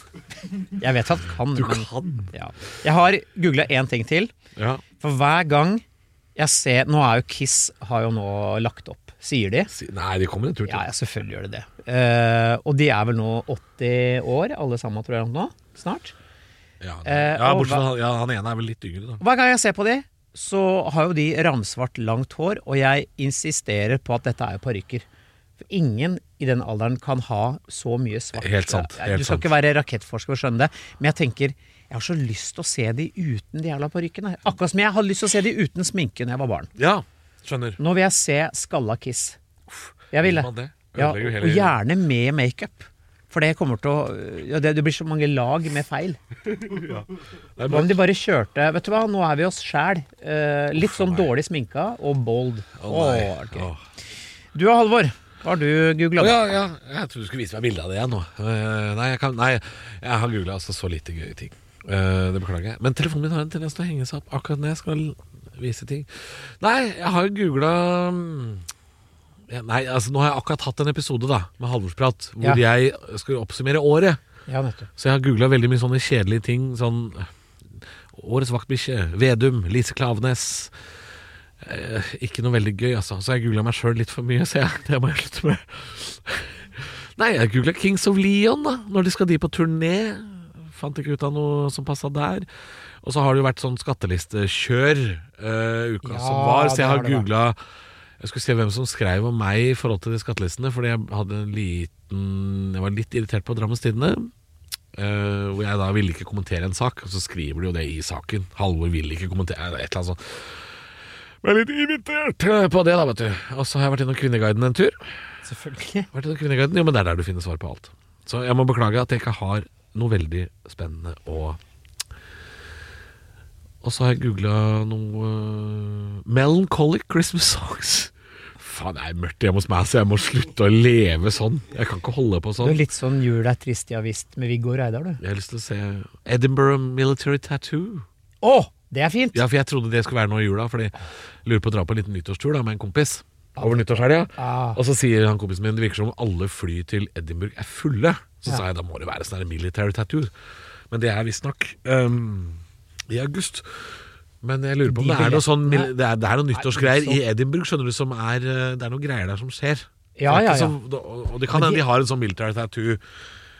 S3: Jeg vet at jeg kan,
S2: Du
S3: men
S2: kan.
S3: ja. Jeg har googla én ting til.
S2: Ja.
S3: For hver gang jeg ser Nå er jo Kiss har jo nå lagt opp, sier de.
S2: Si- Nei, de kommer en tur til.
S3: Ja, ja, selvfølgelig gjør de det. Eh, og de er vel nå 80 år, alle sammen, tror jeg, nå. Snart.
S2: Ja,
S3: Eh,
S2: ja
S3: og
S2: bortsett fra
S3: hva-
S2: han- ja, han ene er vel litt yngre, da.
S3: Hver gang jeg ser på de, så har jo de ramsvart langt hår, og jeg insisterer på at dette er jo parykker. For ingen i den alderen kan ha så mye svart.
S2: Helt sant,
S3: Ja,
S2: helt
S3: du skal
S2: sant.
S3: ikke være rakettforsker for å skjønne det, men jeg tenker jeg har så lyst til å se de uten de jævla parykkene. Akkurat som jeg hadde lyst til å se de uten sminke når jeg var barn.
S2: Ja, skjønner.
S3: Nå vil jeg se skalla Kiss. Jeg
S2: Vil
S3: ville.
S2: man det?
S3: Ja,
S2: Ødelegger jo
S3: og
S2: hele-
S3: gjerne med makeup. For det kommer til å ja, det, det blir så mange lag med feil.
S2: Det er
S3: Hva om
S2: bare-
S3: de bare kjørte Vet du hva, nå er vi oss sjæl. Eh, litt sånn dårlig sminka og bold.
S2: Å, nei.
S3: Åh, ok.
S2: Åh.
S3: Du og Halvor, hva har du googla?
S2: Å, ja, ja, jeg trodde du skulle vise meg bilde av det igjen nå. Eh, nei, jeg kan, nei, jeg har googla altså så lite gøye ting. Eh, det beklager jeg. Men telefonen min har en tendens til å henge seg opp akkurat når jeg skal vise ting. Nei, jeg har googla ja, Nei, altså nå har jeg akkurat hatt en episode da med Halvorsprat hvor jeg skal oppsummere året.
S3: Ja, nettopp.
S2: Så jeg har googla veldig mye sånne kjedelige ting. Sånn eh, Årets vaktbikkje, Vedum, Lise Klavenes. Eh, ikke noe veldig gøy, altså. Så jeg googla meg sjøl litt for mye, så jeg, det må jeg slutte med. Nei, jeg googla Kings of Leon, da. Når de skal de på turné. Fant ikke ut av noe som passa der. Og så har det jo vært sånn skattelistekjør eh, uka
S3: Ja,
S2: som var, så
S3: det
S2: jeg
S3: har
S2: har
S3: det vært.
S2: googla Jeg skulle se hvem som skrev om meg i forhold til de skattelistene, fordi jeg hadde en liten Jeg var litt irritert på Drammens Tidende. eh, hvor jeg da ville ikke kommentere en sak, og så skriver de jo det i saken. Halvor vil ikke kommentere Et eller annet sånt. Jeg er litt irritert eh, på det, da, vet du. Og så har jeg vært innom Kvinneguiden en tur.
S3: Selvfølgelig.
S2: Vært innom Kvinneguiden? Jo, men det er der du finner svar på alt. Så jeg må beklage at jeg ikke har noe veldig spennende å Og så har jeg googla noe øh, Melancholic Christmas Songs. Faen, det er mørkt hjemme hos meg, så jeg må slutte å leve sånn. Jeg kan ikke holde på
S3: Du
S2: sånn.
S3: er litt sånn jul er trist ja visst med Viggo Reidar, du.
S2: Jeg har lyst til å se Edinburgh Military Tattoo.
S3: Å, det er fint!
S2: Ja, for jeg trodde det skulle være nå i jula, fordi jeg lurer på å dra på en liten nyttårstur da med en kompis. Over nyttårshelga.
S3: Ah,
S2: Og så sier han kompisen min Det virker som om alle fly til Edinburgh er fulle. Så
S3: Ja.
S2: sa jeg da må det være sånn her military tattoo. Men det er visstnok um, i august. Men jeg lurer på om
S3: De
S2: det er noe sånn
S3: billettene-
S2: mil- Det er, det er noen nyttårsgreier i
S3: utsolgt.
S2: Edinburgh, skjønner du, som er eh, Det er noen greier der som skjer. Det er
S3: Ja,
S2: ikke
S3: ja, ja.
S2: så- og- og det kan
S3: Men
S2: hende
S3: de-
S2: de har en sånn military tattoo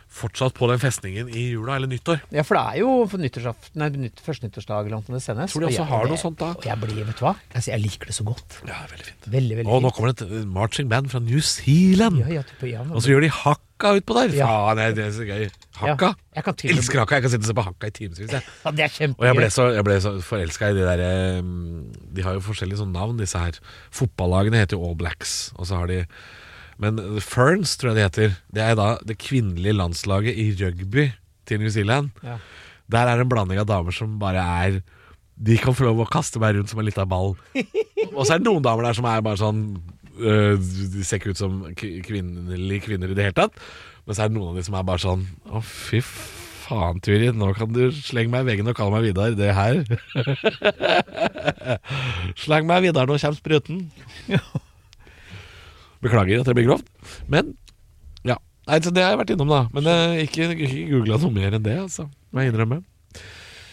S2: fortsatt på den festningen i jula eller nyttår.
S3: ja, for det er jo for nyttårsaften, nei, nytt, første nyttårsdag eller noe sånt det sendes.
S2: Tror de
S3: Og
S2: også
S3: jeg-
S2: har
S3: det-
S2: noe sånt da?
S3: Og jeg blir, vet du hva? Altså, jeg liker det så godt.
S2: Ja, veldig fint.
S3: Veldig, veldig
S2: Og nå
S3: fint.
S2: kommer det et eh, marching band fra New Zealand.
S3: Ja, ja, typ, ja, men-
S2: Og så gjør de hakka utpå der.
S3: Ja.
S2: Faen, det er- det er så gøy. Hakka.
S3: Ja, jeg kan til og med-
S2: Elsker hakka. Jeg kan sitte og se på hakka i timevis. jeg.
S3: Ja, det er kjempegøy.
S2: Og jeg ble så, jeg ble så forelska i de derre De har jo forskjellige sånne navn, disse her. Fotballagene heter jo All Blacks, og så har de Men The Ferns, tror jeg det heter. Det er da det kvinnelige landslaget i rugby til New Zealand.
S3: Ja.
S2: Der er det en blanding av damer som bare er De kan få lov å kaste meg rundt som en liten ball. Og så er det noen damer der som er bare sånn øh, De ser ikke ut som k- kvinnelige kvinner i det hele tatt. Men så er det noen av de som er bare sånn Å, fy faen, Turid. Nå kan du slenge meg i veggen og kalle meg Vidar. Det her Sleng meg Vidar, nå kommer spruten. Beklager at det blir grovt, men ja. Nei, så Det har jeg vært innom, da. Men eh, ikke, ikke googla noe mer enn det, altså. Må jeg innrømme.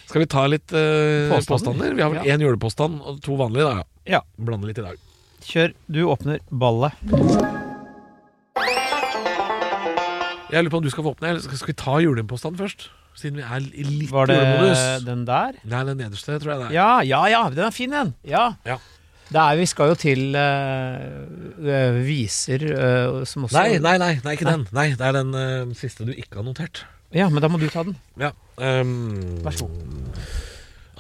S2: Skal vi ta litt eh,
S3: Påstander?
S2: påstander? Vi har vel
S3: Ja.
S2: én julepåstand og to vanlige, da.
S3: Ja,
S2: Blande litt i dag.
S3: kjør. Du åpner ballet.
S2: Jeg lurer på om du skal få åpne. eller Skal, skal vi ta julepåstanden først? Siden vi er i litt
S3: Var det
S2: julemodus.
S3: den der?
S2: Nei, den nederste, tror jeg det er.
S3: Ja, ja, ja, den er fin, den. Ja.
S2: Ja.
S3: Det er, vi skal jo til eh, eh, viser eh, som også
S2: Nei, nei, nei, nei, ikke
S3: Nei.
S2: den. Nei, Det er den eh, siste du ikke har notert.
S3: Ja, men da må du ta den.
S2: Ja. ehm,
S3: Vær så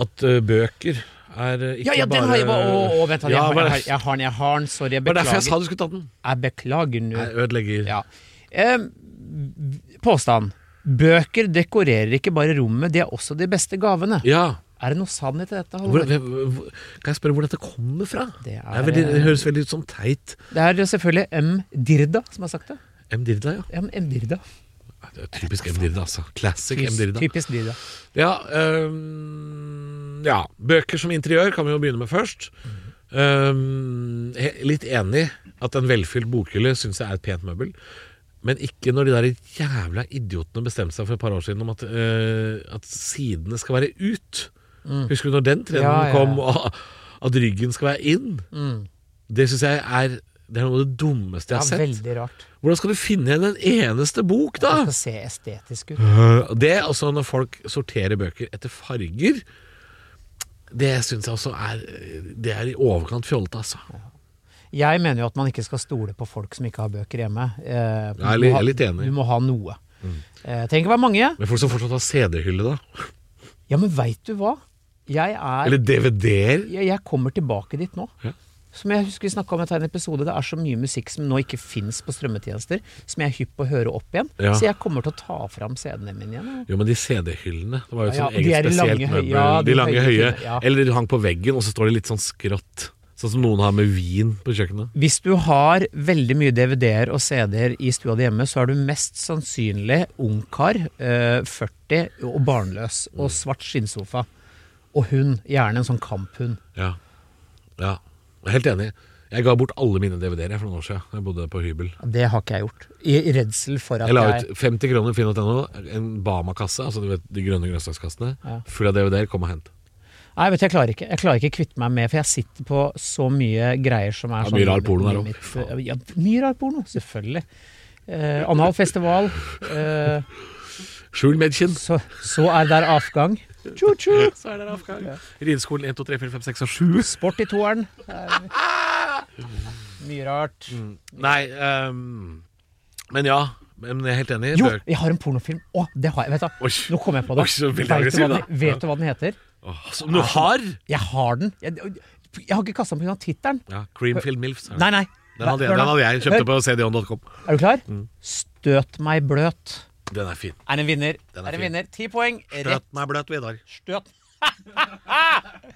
S2: At eh, bøker er eh, ikke
S3: Ja, ja, den
S2: bare
S3: har jeg bare Å, å, vent, jeg,
S2: Ja,
S3: har-
S2: bare-
S3: jeg, har- jeg har den, jeg har den. Sorry, jeg
S2: Det var derfor jeg sa
S3: beklager.
S2: du skulle ta den.
S3: Jeg beklager nå.
S2: Jeg ødelegger.
S3: Ja. Eh, påstand. Bøker dekorerer ikke bare rommet, de er også de beste gavene.
S2: Ja.
S3: Er det noe sannhet i dette?
S2: Hvor,
S3: Halvor?
S2: hvor- hvor- kan jeg spørre hvor dette kommer fra? Det,
S3: Det
S2: er
S3: er,
S2: veldig, det høres veldig ut som teit.
S3: det er selvfølgelig M. Dirda som har sagt det.
S2: M. Dirda, ja.
S3: M. M. Dirda.
S2: Det er typisk M. Dirda, altså. Classic M.
S3: Typisk,
S2: Dirda.
S3: typisk Dirda.
S2: Ja, øhm, ja. Bøker som interiør kan vi jo begynne med først. Øhm, he- litt enig at en velfylt bokhylle syns jeg er et pent møbel. Men ikke når de der jævla idiotene bestemte seg for et par år siden om at, øh, at sidene skal være ut. Husker du når den trenden
S3: Mm. Ja, ja, ja.
S2: kom, og at ryggen skal være inn? Det syns jeg er det er noe av det dummeste jeg
S3: Ja,
S2: har sett.
S3: veldig rart.
S2: Hvordan skal du finne igjen en eneste bok, da?
S3: Det skal se estetisk ut.
S2: Øh, Det, altså når folk sorterer bøker etter farger Det syns jeg også er Det er i overkant fjollete, altså.
S3: Jeg mener jo at man ikke skal stole på folk som ikke har bøker hjemme. Eh,
S2: Jeg er
S3: du
S2: li-
S3: må ha-
S2: jeg er litt enig. Mm.
S3: Du må ha noe. Eh, trenger ikke være mange.
S2: Men folk som fortsatt har CD-hylle, da?
S3: Ja, men veit du hva? Jeg er
S2: Eller DVD-er?
S3: jeg, jeg kommer tilbake dit nå.
S2: Ja.
S3: Som jeg husker vi snakka om i en episode, det er så mye musikk som nå ikke fins på strømmetjenester, som jeg er hypp på å høre opp igjen.
S2: Ja.
S3: Så jeg kommer til å ta fram CD-ene mine igjen. jeg.
S2: Jo, men de CD-hyllene Det var jo et
S3: Ja,
S2: sånn
S3: ja, de er
S2: eget
S3: i lange
S2: spesielt
S3: høy-
S2: møbel.
S3: ja,
S2: de,
S3: de
S2: lange
S3: høye
S2: høye.
S3: hyllene, ja.
S2: Eller de hang på veggen, og så står de litt sånn skrått. Sånn som noen har med vin på kjøkkenet.
S3: Hvis du har veldig mye DVD-er og CD-er i stua di hjemme, så er du mest sannsynlig ungkar, eh, 40 og barnløs, og
S2: Mm.
S3: svart skinnsofa. Og hund. Gjerne en sånn kamphund.
S2: Ja. ja. Jeg er Helt enig. Jeg ga bort alle mine DVD-er for noen år siden. Jeg bodde på hybel.
S3: Det har ikke jeg gjort. I i redsel for at
S2: Jeg la
S3: jeg
S2: ut 50 kroner finn.no, en Bama-kasse, altså du vet, de grønne grønnsakskassene,
S3: Ja.
S2: full av DVD-er, kom og hent.
S3: Nei, vet du, jeg klarer ikke Jeg klarer ikke kvitte meg med, for jeg sitter på så mye greier som er sånn
S2: Ja, mye rar porno der
S3: mitt- eh,
S2: også.
S3: Ja, mye rar porno, selvfølgelig. Eh, analfestival. Eh,
S2: Skjul medkinn.
S3: så, så er der avgang. Tjo-tjo!
S2: Så er det avgang. Rideskolen 1, 2, 3, 4, 5, 6 og 7.
S3: Sport i toeren. Det er Mye rart.
S2: Mm. Nei, ehm, men ja. Men jeg er helt enig.
S3: Jo,
S2: Bør-
S3: jeg har en pornofilm. Å, det har jeg. Vet du,
S2: Oi.
S3: nå kom jeg på det.
S2: Oi, så veldig
S3: Vet du,
S2: aggressiv,
S3: hva den,
S2: da.
S3: vet du hva den heter?
S2: Åh, Ah, Som du har!
S3: Jeg har den. Jeg, jeg har ikke kasta den pga. tittelen.
S2: Ja, Creamfield Milfs.
S3: Nei, nei.
S2: Den hadde,
S3: Hør
S2: den
S3: nå.
S2: hadde jeg kjøpte på Mm. cdon.com.
S3: Er du klar? Støt meg bløt.
S2: Den er fin.
S3: Er en vinner.
S2: Den er
S3: er, en
S2: fin.
S3: vinner. Ti poeng. Rett
S2: Bløt meg bløt, Vidar.
S3: støt.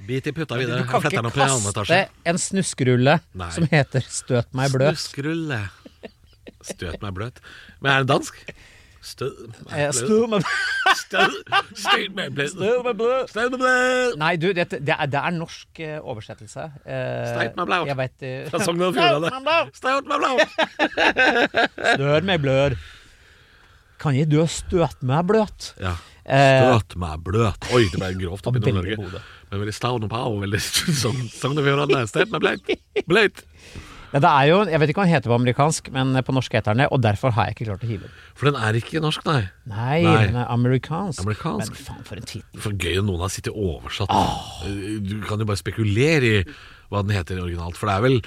S2: Bit i puta,
S3: Du
S2: Vidar.
S3: kan
S2: Flett
S3: ikke
S2: den opp i annen
S3: kaste
S2: etasje.
S3: en snuskerulle
S2: Nei.
S3: som heter Støt meg bløt.
S2: Snuskrulle. Støt meg bløt. Men er den dansk? Stø...
S3: Eh,
S2: Stø...
S3: Støt meg
S2: Stø... Støt meg bløt.
S3: Støt meg bløt.
S2: Støt meg bløt.
S3: Nei, du, dette- det, er, det er norsk eh, oversettelse. Eh,
S2: Steit meg blaut.
S3: Jeg vet, eh,
S2: Fra Sogn og Fjordane.
S3: Steit meg blaut.
S2: Støt meg bløt.
S3: Støt meg blør. Kan jeg dø støt meg bløt?
S2: Ja.
S3: Eh,
S2: Støt meg bløt. Oi, det ble grovt oppi
S3: Veldig
S2: Nord-Norge.
S3: gode.
S2: Men veldig Stavn og Pau, veldig Sogn Sogn og Fjordane. Støt meg bløt. Bløt.
S3: ja, det er jo, jeg vet ikke hva den heter på amerikansk, men på norsk heter den det, og derfor har jeg ikke klart å hive den.
S2: For den er ikke norsk, nei.
S3: Nei,
S2: Nei.
S3: den er amerikansk.
S2: Amerikansk.
S3: Men faen, for en tittel.
S2: For gøy om noen har sittet oversatt. Du kan jo bare spekulere i hva den heter originalt. For det er vel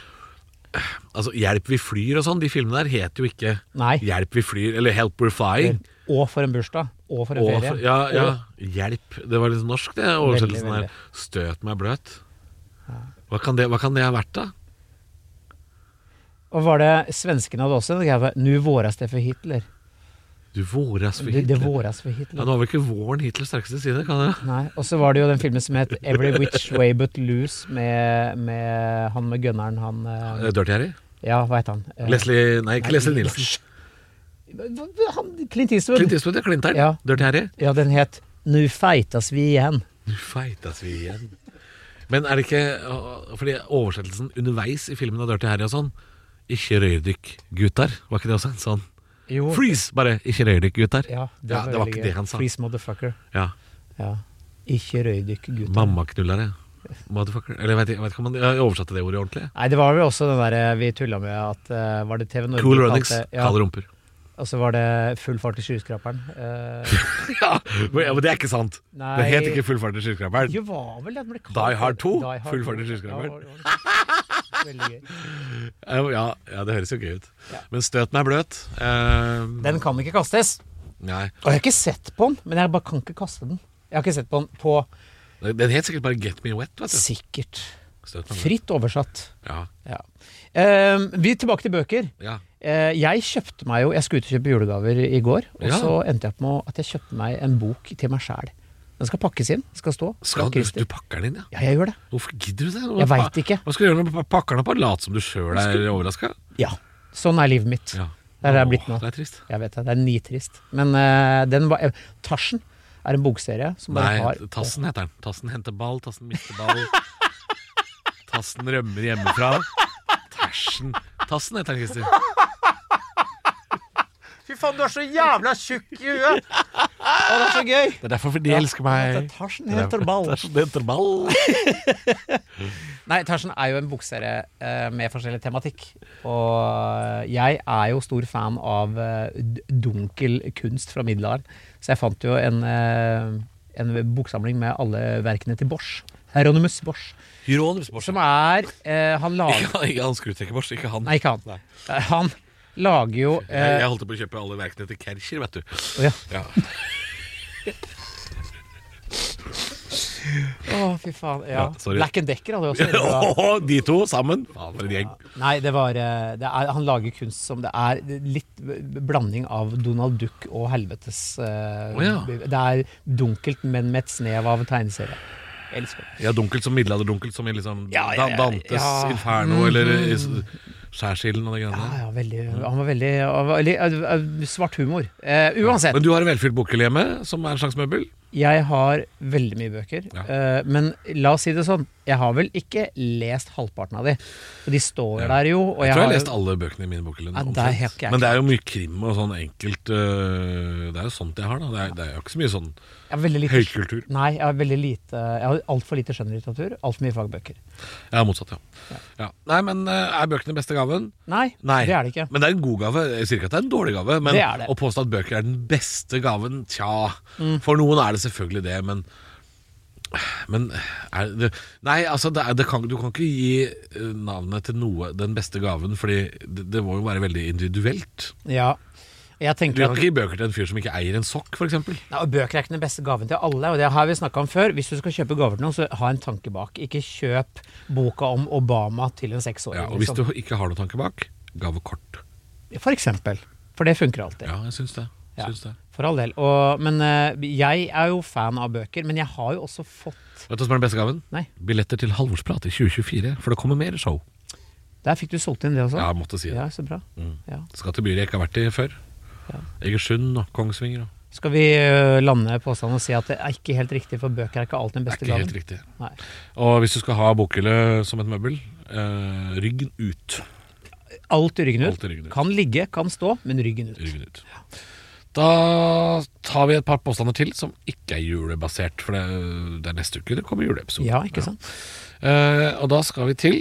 S2: Altså, 'Hjelp, vi flyr' og sånn, de filmene der heter jo ikke
S3: Nei.
S2: 'Hjelp, vi flyr' eller 'Help, we're flying'.
S3: Og for en bursdag. Og for en
S2: Og,
S3: ferie.
S2: ja, ja, 'Hjelp' Det var litt norsk, det. Oversettelsen
S3: Veldig, veldig.
S2: her. 'Støt meg bløt'. Hva kan, det, hva kan det ha vært, da?
S3: Og, og var det svenskene hadde også en greie med, Nu våras det for Hitler.
S2: Du våras for
S3: Det, det
S2: Hitler.
S3: våras for
S2: Ja,
S3: Hitler.
S2: nå var vel ikke våren Hitlers sterkeste side, kan det?
S3: Nei, Og så var det jo den filmen som het Every Which Way But Loose, med, med han med gunneren, han eh,
S2: Eh, Dirty Harry?
S3: Ja, hva het han? Eh,
S2: Leslie Nei, ikke
S3: nei,
S2: Leslie Nielsen.
S3: hva- han, Clint Eastwood.
S2: Clint Eastwood, ja. Clintern.
S3: Ja.
S2: Dirty Harry.
S3: Ja, den het Nu feitas vi igjen.
S2: Nå feitas vi igjen. Men er det ikke å, Fordi oversettelsen underveis i filmen av Dirty Harry og sånn Ikke rør dykk, gutter. Var ikke det også en sånn?
S3: Jo.
S2: Freeze! Bare ikke rør dykk, gutter.
S3: Ja, det,
S2: Ja, det var
S3: veldig
S2: ikke
S3: gøy.
S2: det han sa.
S3: Freeze motherfucker.
S2: Ja.
S3: Ja. Ikke røydykk, gutter.
S2: Mammaknullere. Motherfucker. Eller jeg vet, jeg vet ikke om han jeg oversatte det ordet ordentlig.
S3: Nei, det var vel også den derre vi tulla med at eh, Var det TV Norge?
S2: Cool
S3: kalte-
S2: runnings,
S3: Ja,
S2: kalde rumper.
S3: og så var det Full fart i skyskraperen. Eh,
S2: Ja, men ja, men det er ikke sant. Det
S3: Nei.
S2: het ikke Full fart i skyskraperen.
S3: jo, var vel det den ble kalt
S2: Die Hard 2,
S3: Die Hard
S2: Full fart i
S3: 2.
S2: skyskraperen.
S3: Ja, var- var- Veldig gøy.
S2: Eh, Ja, ja, det høres jo gøy ut.
S3: Ja.
S2: Men støten er bløt. Eh,
S3: Den kan ikke kastes.
S2: Nei.
S3: Og jeg har ikke sett på den, men jeg bare kan ikke kaste den. Jeg har ikke sett på den på
S2: Den het sikkert bare Get Me Wet. Vet du.
S3: sikkert
S2: Støten er bløt.
S3: fritt oversatt.
S2: Ja.
S3: Ja. Eh, vi er tilbake til bøker.
S2: ja.
S3: Eh, jeg kjøpte meg jo Jeg skulle ut og kjøpe julegaver i går, og
S2: Ja.
S3: så endte jeg opp med at jeg kjøpte meg en bok til meg sjæl. Den skal pakkes inn. Skal stå. fra
S2: Skal du,
S3: Christer.
S2: du pakker den inn, ja?
S3: Ja, jeg gjør det.
S2: Hvorfor gidder du det? Hva,
S3: Jeg vet ikke.
S2: Hva skal du gjøre når du pakker den opp? Bare late som du sjøl er overraska?
S3: Ja. Sånn er livet mitt.
S2: Ja.
S3: Det er det jeg er blitt
S2: Åh,
S3: nå.
S2: Det er trist.
S3: Jeg vet det. Det er nitrist. Men eh, den var eh, Tarsen er en bokserie som bare
S2: Nei,
S3: har
S2: Tassen heter den. Tassen henter ball, Tassen mister ball. Tassen rømmer hjemmefra. Tersen. Tassen heter den, Christer.
S3: Fy faen, du er så jævla tjukk i huet! Å, det er så gøy!
S2: Det er derfor de elsker meg.
S3: Tarsen heter Ball.
S2: Tersen henter ball.
S3: Nei, Tarsen er jo en bokserie eh, med forskjellig tematikk. Og eh, jeg er jo stor fan av eh, d- dunkel kunst fra middelalderen. Så jeg fant jo en, eh, en boksamling med alle verkene til Bosch. Hieronymus Bosch.
S2: Hieronymus Bosch.
S3: Som er eh, Han lager
S2: Ikke, ikke han skrutrekker Bosch, ikke han.
S3: Nei, ikke han. Eh, Han lager jo
S2: Jeg,
S3: eh,
S2: jeg holdt på å kjøpe alle verkene til Kercher, vet du.
S3: å ja.
S2: Ja.
S3: Å, fy faen.
S2: Ja,
S3: Ja.
S2: sorry.
S3: Black and Decker hadde jo også veldig bra.
S2: de to sammen. Faen, for en gjeng.
S3: Nei, det var eh, det er, Han lager kunst som det er litt b- blanding av Donald Duck og helvetes eh,
S2: Å ja.
S3: b- Det er dunkelt, men med et snev av tegneserie. Jeg elsker det.
S2: Ja, dunkelt som middelalderdunkelt, som i liksom
S3: Ja, ja, ja,
S2: Dan- Dantes
S3: ja.
S2: Inferno eller i s- Skjærsilden og det greiene
S3: Ja,
S2: der.
S3: ja, veldig, han var veldig, han var veldig eh, eh, Svart humor. Eh, uansett.
S2: Men du har en velfylt bokhylle hjemme, som er en slags møbel?
S3: Jeg har veldig mye bøker,
S2: Ja.
S3: eh, men la oss si det sånn. Jeg har vel ikke lest halvparten av de. For de står
S2: Ja.
S3: der jo. Og
S2: Jeg tror jeg har
S3: har
S2: lest alle bøkene i min bokhylle.
S3: Ja, det er
S2: omtrent.
S3: helt ikke jeg
S2: Men det er jo mye krim og sånn enkelt øh, Det er jo sånt jeg har, da. Det er, det er jo ikke så mye sånn
S3: jeg har veldig lite,
S2: høykultur.
S3: Nei, jeg har veldig lite Jeg har altfor lite skjønnlitteratur. Altfor mye fagbøker.
S2: Jeg er motsatt, ja. ja. Nei, men øh, er bøkene beste gaven?
S3: Nei,
S2: Nei.
S3: det er det ikke.
S2: Men det er en god gave. Jeg sier ikke at det er en dårlig gave, men
S3: Det er det. Mm.
S2: å påstå at bøker er den beste gaven, tja For noen er det selvfølgelig det, men men er det, Nei, altså, det er, det kan, du kan ikke gi eh, navnet til noe den beste gaven, fordi det, det må jo være veldig individuelt.
S3: Ja. Jeg
S2: Du
S3: tenker
S2: kan
S3: at
S2: ikke gi bøker til en fyr som ikke eier en sokk, f.eks.
S3: Nei, og Bøker er ikke den beste gaven til alle, og det har vi snakka om før. Hvis du skal kjøpe gaver til noen, så ha en tanke bak. Ikke kjøp boka om Obama til en seksåring.
S2: Ja, og hvis
S3: liksom.
S2: du ikke har noen tanke bak, gavekort.
S3: For eksempel. For det funker alltid.
S2: Ja, jeg syns det.
S3: Ja.
S2: Syns det.
S3: For all del. Og, men eh, jeg er jo fan av bøker, men jeg har jo også fått
S2: Vet du hva som er den beste gaven?
S3: Nei,
S2: Billetter til Halvorsprat i 2024, for det kommer mer show.
S3: der fikk du solgt inn det også.
S2: Ja, jeg måtte si det.
S3: Ja, så bra. Ja.
S2: Skal til byer jeg ikke har vært i før. Egersund og Kongsvinger. Og.
S3: Skal vi eh, lande påstanden og si at det er ikke helt riktig, for bøker er ikke alltid den
S2: Det er
S3: beste
S2: ikke helt
S3: gaven?
S2: riktig.
S3: Nei.
S2: Og hvis du skal ha bokhylle som et møbel, eh, ryggen ut.
S3: Alt i ryggen ut.
S2: Alt i ryggen ut.
S3: Kan ligge, kan stå, men ryggen ut.
S2: Ryggen ut. Da tar vi et par påstander til som ikke er julebasert, for det, det er neste uke det kommer juleepisode.
S3: Ja, ikke sant?
S2: Eh, og da skal vi til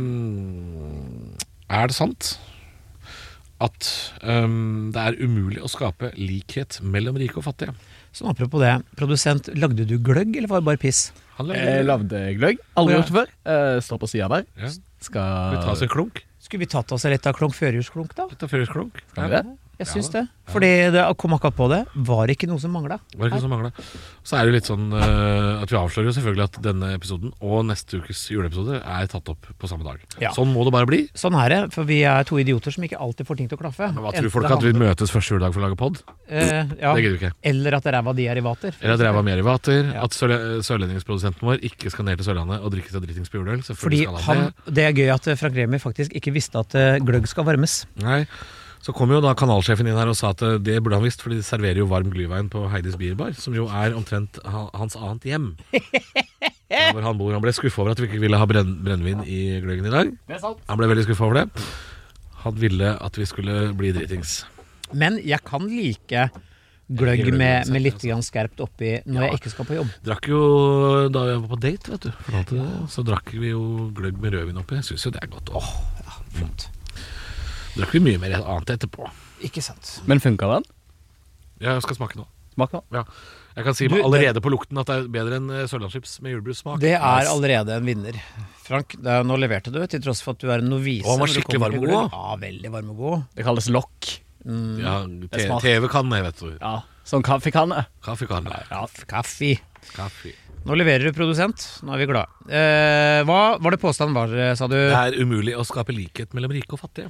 S2: ehm, Er det sant at ehm, det er umulig å skape likhet mellom rike og fattige?
S3: Sånn apropos det, produsent, lagde du gløgg, eller var det bare piss?
S2: Han
S3: Eh,
S4: Jeg
S2: lager-
S4: lagde gløgg. Aldri
S3: Ja.
S4: gjort det før. Eh, Står på sida der.
S2: Ja.
S4: Skal
S2: Vi tar oss en klunk.
S3: Skulle vi tatt oss litt av klunk førjulsklunk, da?
S2: Litt av førjulsklunk.
S4: Kan vi det?
S3: Jeg
S2: Ja
S3: syns
S2: da.
S3: det. Fordi det jeg kom akkurat på det. Var ikke noe som mangla.
S2: Var det ikke som manglet? Så er det jo litt sånn eh, at vi avslører jo selvfølgelig at denne episoden og neste ukes juleepisode er tatt opp på samme dag.
S3: Ja.
S2: Sånn må det bare bli.
S3: Sånn er det, for vi er to idioter som ikke alltid får ting til å klaffe.
S2: Men Hva
S3: Enten
S2: tror folk
S3: det
S2: at vi
S3: handler-
S2: møtes første juledag for å lage pod?
S3: Eh, ja.
S2: Det gidder vi ikke.
S3: Eller at ræva di er i vater.
S2: Eller at ræva mi er i vater.
S3: Ja.
S2: At sørle- sørlendingsprodusenten vår ikke skal ned til Sørlandet og drikke seg dritings på juleøl.
S3: Fordi
S2: Selvfølgelig skal han
S3: han, det er gøy at eh, Frank Remi faktisk ikke visste at eh, gløgg skal varmes.
S2: det. Nei. Så kom jo da kanalsjefen inn her og sa at eh, det burde han visst, fordi de serverer jo varm glyvein på Heidis Bierbar, som jo er omtrent ha- hans annet hjem. Der Hvor han bor. Han ble skuffa over at vi ikke ville ha brenn brennevin i gløggen i dag.
S4: Det er sant.
S2: Han ble veldig skuffa over det. Han ville at vi skulle bli dritings.
S3: Men jeg kan like
S2: gløgg
S3: gløgg
S2: altså.
S3: med,
S2: uansett,
S3: med litt grann skerpt oppi når jeg ikke skal på jobb.
S2: Drakk jo da vi var på date, vet du. Fortalte det. Så drakk vi jo gløgg med rødvin oppi. Jeg syns jo det er godt. Åh, Drakk vi mye mer annet etterpå.
S3: Ikke sant.
S4: Men funka den?
S2: Ja, jeg skal smake nå.
S4: Smak den.
S2: Ja. Jeg kan si
S3: Du, det-
S2: allerede på lukten at det er bedre enn eh, sørlandschips med julebrussmak.
S3: Det er
S2: Nice.
S3: allerede en vinner. Frank, det er, nå leverte du, til tross for at du er en novise.
S2: Og han var
S3: når det
S2: skikkelig
S3: kommer
S2: varm
S3: til
S2: og
S3: gløgg.
S2: god.
S3: Ja, veldig varm og god.
S4: Det kalles lokk.
S2: ja, te-
S4: smak.
S2: TV kan det, vet du.
S4: Ja. Sånn kaffekanne.
S2: Kaffe kan det.
S3: Ja, kaffe.
S2: Kaffe.
S3: Nå leverer du produsent, nå er vi glade. Eh, hva var det påstanden var, eh, sa du?
S2: Det er umulig å skape likhet mellom rike og fattige.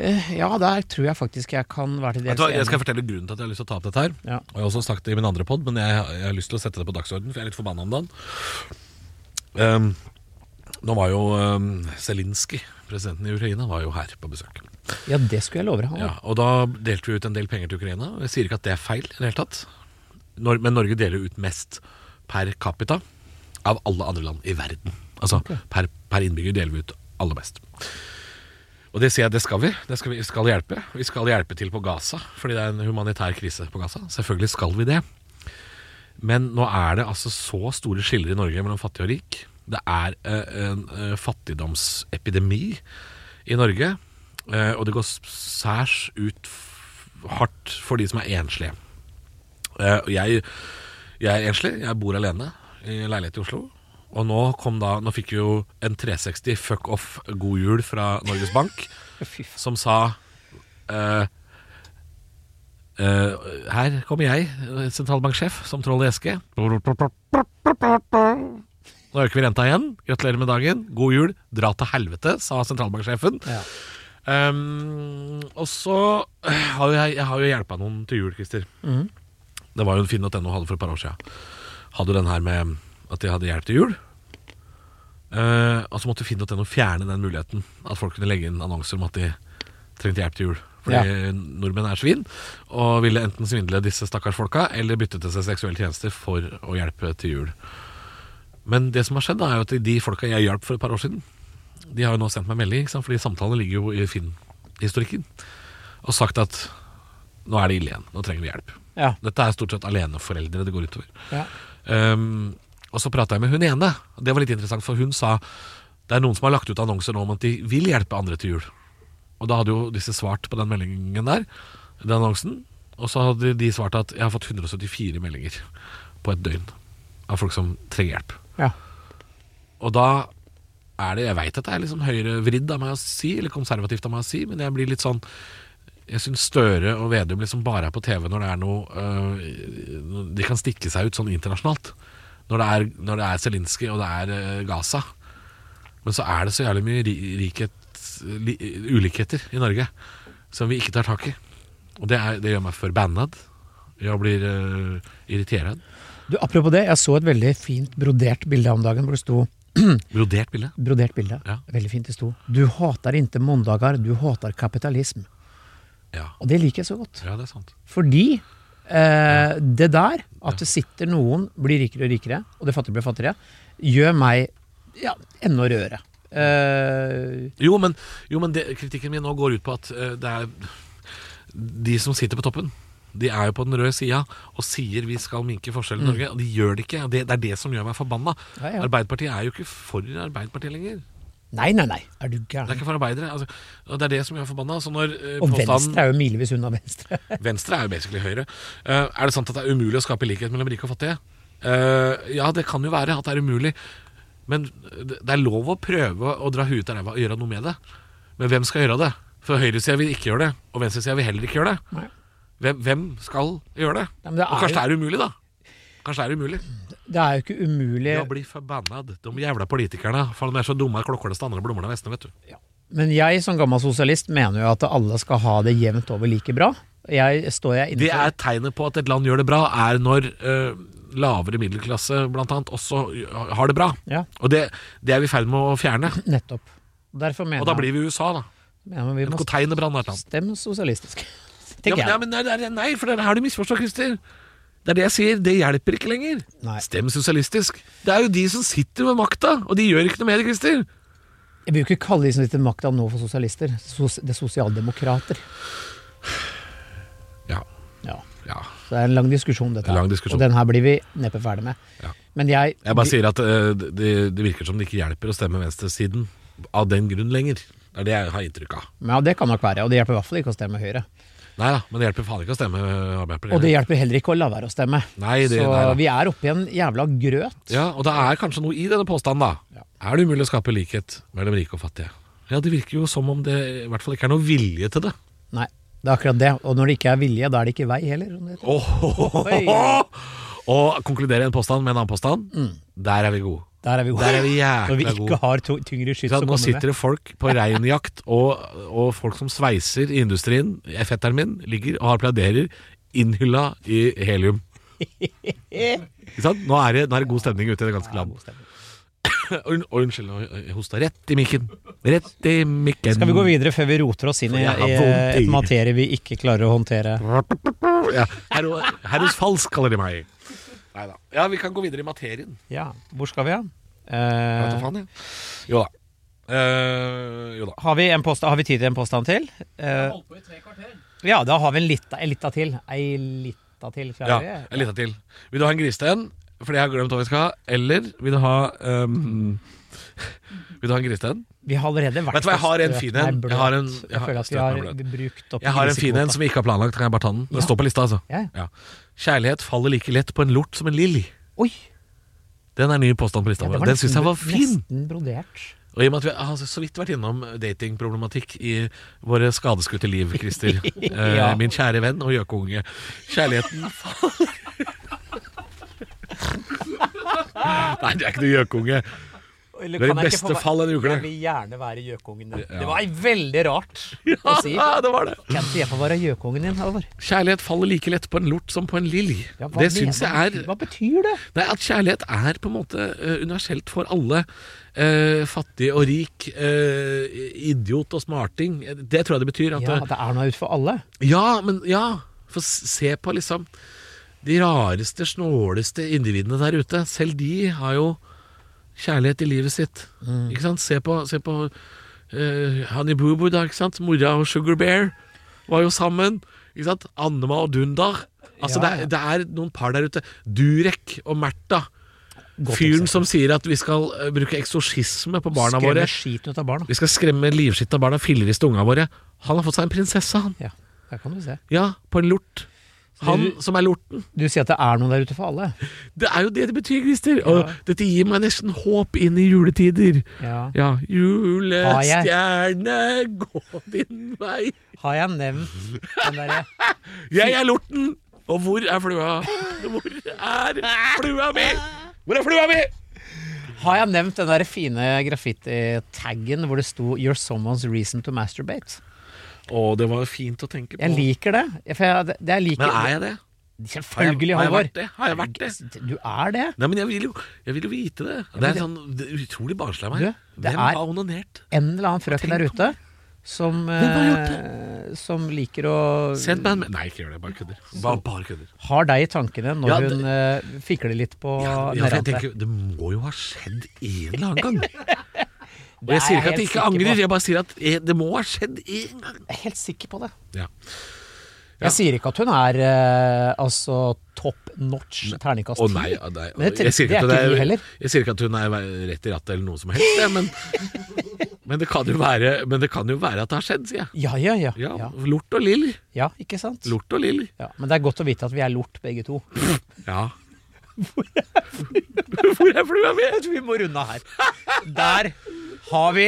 S3: Eh, ja, der tror jeg faktisk jeg kan være til
S2: Vet
S3: dels
S2: du hva, jeg skal fortelle grunnen til at jeg har lyst til å ta opp dette her.
S3: Ja.
S2: Og jeg har også snakket det i min andre pod, men jeg, jeg har lyst til å sette det på dagsorden, for jeg er litt forbanna om dagen. Ehm, nå var jo um, Zelinskyj, presidenten i Ukraina, var jo her på besøk.
S3: Ja, det skulle jeg love deg.
S2: Ja, og da delte vi ut en del penger til Ukraina. og Jeg sier ikke at det er feil i det hele tatt, Nor men Norge deler jo ut mest per capita av alle andre land i verden. Altså per, per innbygger deler vi ut aller mest. Og det sier jeg, det skal vi. Det skal vi vi skal hjelpe. Vi skal hjelpe til på Gaza, fordi det er en humanitær krise på Gaza. Selvfølgelig skal vi det. Men nå er det altså så store skiller i Norge mellom fattig og rik. Det er eh, en eh, fattigdomsepidemi i Norge, eh, og det går s- særs ut f hardt for de som er enslige. Eh, og jeg, jeg er enslig, jeg bor alene i en leilighet i Oslo. Og nå, kom da, nå fikk vi jo en 360 fuck off god jul fra Norges Bank,
S3: Fy faen.
S2: som sa eh, eh, Her kommer jeg, sentralbanksjef, som troll i eske. Nå øker vi renta igjen. Gratulerer med dagen. God jul. Dra til helvete, sa sentralbanksjefen.
S3: Ja.
S2: Ehm, og så eh, har jo jeg, jeg har jo hjelpa noen til jul, Christer. Det var jo en finn.no hadde for et par år siden. Hadde jo den her med at de hadde hjelp til jul. Eh, og så måtte finn.no fjerne den muligheten. At folk kunne legge inn annonser om at de trengte hjelp til jul. For fordi nordmenn er svin, og ville enten svindle disse stakkars folka, eller bytte til seg seksuelle tjenester for å hjelpe til jul. Men det som har skjedd, da, er jo at de folka jeg hjalp for et par år siden, de har jo nå sendt meg melding, ikke sant? fordi samtalene ligger jo i Finn-historikken, og sagt at nå er det ille igjen, nå trenger vi hjelp.
S3: Ja.
S2: Dette er stort sett aleneforeldre det går utover.
S3: Ja.
S2: Um, og så prata jeg med hun ene. og Det var litt interessant, for hun sa det er noen som har lagt ut annonser nå om at de vil hjelpe andre til jul. Og da hadde jo disse svart på den meldingen der, den annonsen. Og så hadde de svart at jeg har fått 174 meldinger på et døgn av folk som trenger hjelp.
S3: Ja.
S2: Og da er det Jeg veit at det er liksom høyrevridd av meg å si, eller konservativt av meg å si, men jeg blir litt sånn Jeg syns Støre og Vedum liksom bare er på TV når det er noe øh, De kan stikke seg ut sånn internasjonalt. Når det er, når det er Zelinskyj og det er øh, Gaza. Men så er det så jævlig mye ri- rikhet, li, ulikheter i Norge som vi ikke tar tak i. Og det, er, det gjør meg forbannad. Jeg blir uh, irritert.
S3: Du, apropos det, jeg så et veldig fint brodert bilde om dagen hvor det sto
S2: Brodert bilde.
S3: Brodert bilde.
S2: Ja.
S3: Veldig fint det sto. Du hater ikke mandager, du hater kapitalisme.
S2: Ja.
S3: Og det liker jeg så godt.
S2: ja, det er sant.
S3: Fordi eh, det der, at det sitter noen, blir rikere og rikere, og det fattige blir fattigere, gjør meg ja, enda rødere. Eh,
S2: Jo, men, jo, men det, kritikken min nå går ut på at eh, det er de som sitter på toppen. De er jo på den røde sida og sier vi skal minke forskjellen i Norge. Og de gjør det ikke. og Det, det er det som gjør meg forbanna.
S3: Mm. Ja, ja.
S2: Arbeiderpartiet er jo ikke for Arbeiderpartiet lenger.
S3: nei, nei, nei. Er du
S2: Det er
S3: gæren?
S2: ikke for arbeidere. Altså, og det er det som gjør meg forbanna. Så når eh,
S3: Og
S2: påstanden
S3: Venstre er jo milevis unna Venstre.
S2: Venstre er jo basically Høyre. Eh, er det sant at det er umulig å skape likhet mellom rike og fattige? Eh, ja, det kan jo være at det er umulig. Men det det er lov å prøve å dra huet ut av ræva og gjøre noe med det. Men hvem skal gjøre det? For høyresida vil ikke gjøre det, og venstresida vil heller ikke gjøre det.
S3: Nei.
S2: Hvem, hvem skal gjøre det?
S3: Ja, men det er
S2: og kanskje
S3: jo-
S2: det er umulig, da. Kanskje det er umulig.
S3: Det er jo ikke umulig.
S2: Jeg blir forbanna. De jævla politikerne. For de er så dumme at klokkeles andre blommer av vestene, vet du.
S3: Men jeg som gammel sosialist mener jo at alle skal ha det jevnt over like bra. Jeg står jeg
S2: Det
S3: inne for
S2: er tegnet på at et land gjør det bra, er når eh, lavere middelklasse blant annet også har det bra.
S3: Ja,
S2: Og det, det er vi i ferd med å fjerne.
S3: nettopp. Derfor mener
S2: Og da blir vi i USA, da.
S3: jeg mener vi
S2: En
S3: må
S2: konteinerbrann eller noe.
S3: stemme sosialistisk.
S2: Ja,
S3: Tenker
S2: men, ja, men nei, nei, nei, for det her har du misforstått, Christer. Det er det jeg sier. Det hjelper ikke lenger.
S3: jeg. Nei.
S2: Stem sosialistisk. Det er jo de som sitter med makta, og de gjør ikke noe med det, Christer.
S3: Jeg vil jo ikke kalle de som sitter ved makta nå for sosialister. Sos det er sosialdemokrater.
S2: Ja.
S3: Ja.
S2: ja.
S3: Så det er en lang diskusjon, dette.
S2: En
S3: her.
S2: lang diskusjon.
S3: Og den her blir vi neppe ferdig med.
S2: Ja.
S3: Men jeg,
S2: Jeg bare sier at eh, det, det virker som det ikke hjelper å stemme venstresiden av den grunn lenger. Det er det jeg har inntrykk av.
S3: Ja, det kan nok være. Og det hjelper i hvert fall ikke å stemme Høyre.
S2: Nei da, men det hjelper faen ikke å stemme Arbeiderpartiet.
S3: Og det hjelper heller ikke å la være å stemme.
S2: Nei, det-
S3: Så
S2: nei da.
S3: vi er oppe i en jævla grøt.
S2: Ja, og det er kanskje noe i denne påstanden, da.
S3: Ja.
S2: Er det umulig å skape likhet mellom rike og fattige? Ja, det virker jo som om det i hvert fall ikke er noe vilje til det.
S3: Nei, det er akkurat det. Og når det ikke er vilje, da er det ikke vei heller. som det heter. Oi.
S2: Og konkludere en påstand med en annen påstand, der er vi gode.
S3: Der er vi gode.
S2: Der er vi
S3: Når vi
S2: jækla
S3: ikke
S2: gode.
S3: har to, tyngre skyts
S2: Så
S3: å
S2: nå
S3: komme
S2: sitter
S3: med.
S2: det folk på reinjakt, og, og folk som sveiser i industrien. Fetteren min ligger og applauderer, innhylla i helium. Ikke sant? Nå er det, nå er det god stemning ute i det ganske land. Oi, oi, Unnskyld, jeg hosta rett i mikken. Rett i mikken.
S3: Skal vi gå videre før vi roter oss inn i,
S2: For jeg har
S3: i
S2: vondt i-
S3: et materie vi ikke klarer å håndtere?
S2: Ja, her, her hos Falsk kaller de meg. Neida. Ja, vi kan gå videre i materien.
S3: Ja, Hvor skal vi, da?
S2: Jeg vet da
S3: Eh,
S2: faen, jeg. Jo da. Eh, jo da.
S3: har, vi en påsta- har vi tid til en påstand til? Eh,
S4: Holdt på i tre kvarter.
S3: ja, da har vi en lita, en lita til. Ei lita til,
S2: Ja,
S3: klarer vi?
S2: en liten til. Vil du ha en gristein? Fordi jeg har glemt hva vi skal ha. Eller vil du ha ehm, Vil du ha en gristein?
S3: Vi har allerede vært
S2: Vet du hva, jeg har en
S3: på
S2: fin
S3: strøk.
S2: en.
S3: Nei,
S2: Jeg har en-
S3: bløt.
S2: jeg har-
S3: føler at vi
S2: strøk
S3: har
S2: meg
S3: brukt opp
S2: Jeg har en fin en
S3: grisekvota.
S2: som vi ikke har planlagt. Kan jeg bare ta den? Den
S3: Ja.
S2: står på lista, altså.
S3: Ja, ja.
S2: Ja. Kjærlighet faller like lett på en lort som en lilj.
S3: Oi!
S2: Den er ny påstand på lista.
S3: Ja, det
S2: vår.
S3: var
S2: den syns jeg var
S3: nesten-
S2: fin.
S3: Nesten brodert.
S2: Og i og med at vi har så vidt vært innom datingproblematikk i våre skadeskutte liv, Christer. Eh,
S3: Ja.
S2: Min kjære venn og gjøkunge. Kjærligheten Nei, du er ikke noe gjøkunge.
S3: Eller
S2: Du er
S3: kan
S2: i
S3: jeg ikke få
S2: beste
S3: være-
S2: fall en uke.
S3: Jeg vil gjerne være gjøkungen din.
S2: Ja.
S3: Det var veldig rart å si.
S2: Ja, det var det.
S3: Kan ikke jeg få være gjøkungen din, Halvor?
S2: Kjærlighet faller like lett på en lort som på en lilj.
S3: Ja, hva
S2: det syns jeg
S3: mener du?
S2: er
S3: Hva betyr det?
S2: Nei, At kjærlighet er på en måte eh, universelt for alle. Eh, fattig og rik, eh, idiot og smarting. Eh, Det tror jeg det betyr. At eh,
S3: Ja,
S2: det-
S3: det er noe ut for alle.
S2: Ja, men ja For s- se på liksom De rareste, snåleste individene der ute Selv de har jo kjærlighet i livet sitt
S3: Mm.
S2: Ikke sant? Se på, se på eh, Honey Boo Boo da, ikke sant? Mora og Sugar Bear var jo sammen Ikke sant? Annema og Dundar Altså
S3: Ja, ja.
S2: det, er, det er noen par der ute Durek og Märtha
S3: Godt
S2: Fyren
S3: eksempel.
S2: som sier at vi skal eh, bruke eksorsisme på barna
S3: Skremmer
S2: våre
S3: skiten ut av barna.
S2: Vi skal skremme livskitt av barna Filleriste unga våre Han har fått seg en prinsesse han
S3: Ja, der kan du se.
S2: ja, på en lort. Han som er lorten.
S3: Du sier at det er noe der ute for alle.
S2: Det er jo det det betyr, Christer. Og dette gir meg nesten håp inn i juletider.
S3: Ja.
S2: Ja,
S3: Har jeg-
S2: julestjerne, gå din vei.
S3: Har jeg nevnt den derre
S2: Jeg er lorten! Og hvor er flua? Hvor er flua mi? Hvor er flua mi?
S3: Har jeg nevnt den der fine graffiti-taggen hvor det sto 'You're someone's reason to masturbate'?
S2: Å, det var fint å tenke på.
S3: Jeg liker det. For jeg, det- det jeg liker,
S2: Men er jeg det?
S3: Selvfølgelig,
S2: Har jeg- har
S3: Halvor.
S2: jeg vært det? Har jeg vært
S3: Du er det.
S2: Nei, men jeg vil jo, jeg vil jo vite det. Det er sånn det er utrolig barnslig av meg.
S3: Du, det
S2: Hvem
S3: er-
S2: har onanert?
S3: En eller annen frøken der
S2: Tenk
S3: ute som,
S2: har
S3: eh, som liker å
S2: Send meg en me- Nei, ikke gjør det. Bare kødder. Bare, bare kødder.
S3: Har deg i tankene når
S2: Ja, det-
S3: hun eh, fikler litt på
S2: Ja, ja, for jeg
S3: nedrampet.
S2: tenker, det må jo ha skjedd en eller annen gang. Og
S3: Det er
S2: jeg sier
S3: jeg
S2: ikke at jeg
S3: helt
S2: ikke
S3: sikker på.
S2: angrer, jeg bare sier at eh, det må ha skjedd en gang.
S3: Jeg er helt sikker på det.
S2: Ja. Ja.
S3: Jeg sier ikke at hun er eh, altså top notch terningkast
S2: Å nei, å nei.
S3: Men det er
S2: Jeg sier
S3: trist,
S2: ikke
S3: det er
S2: at
S3: ikke vi
S2: det
S3: heller.
S2: er- jeg sier ikke at hun er rett i rattet eller noe som helst, jeg, men, men, det kan jo være, men det kan jo være at det har skjedd, sier jeg.
S3: Ja, ja, ja.
S2: Ja,
S3: ja.
S2: Lort og lill.
S3: ja ikke sant?
S2: Lort og lill.
S3: Ja, men det er godt å vite at vi er lort begge to.
S2: Ja. Hvor er flua mi?
S3: Jeg tror vi må runde av her. Der har vi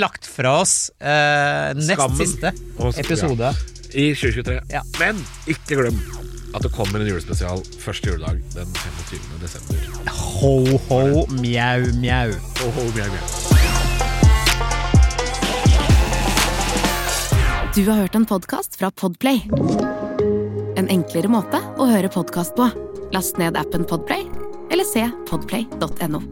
S3: lagt fra oss eh, nest
S2: Skammen.
S3: siste
S2: Og så-
S3: episode.
S2: I 2023.
S3: Ja.
S2: Men ikke glem at det kommer en julespesial første juledag den 25. desember.
S3: Ho, ho, mjau, mjau.
S2: Oh, mjau, mjau.
S5: Du har hørt en podcast fra Podplay En enklere måte å høre podcast på Last ned appen Podplay Eller se podplay.no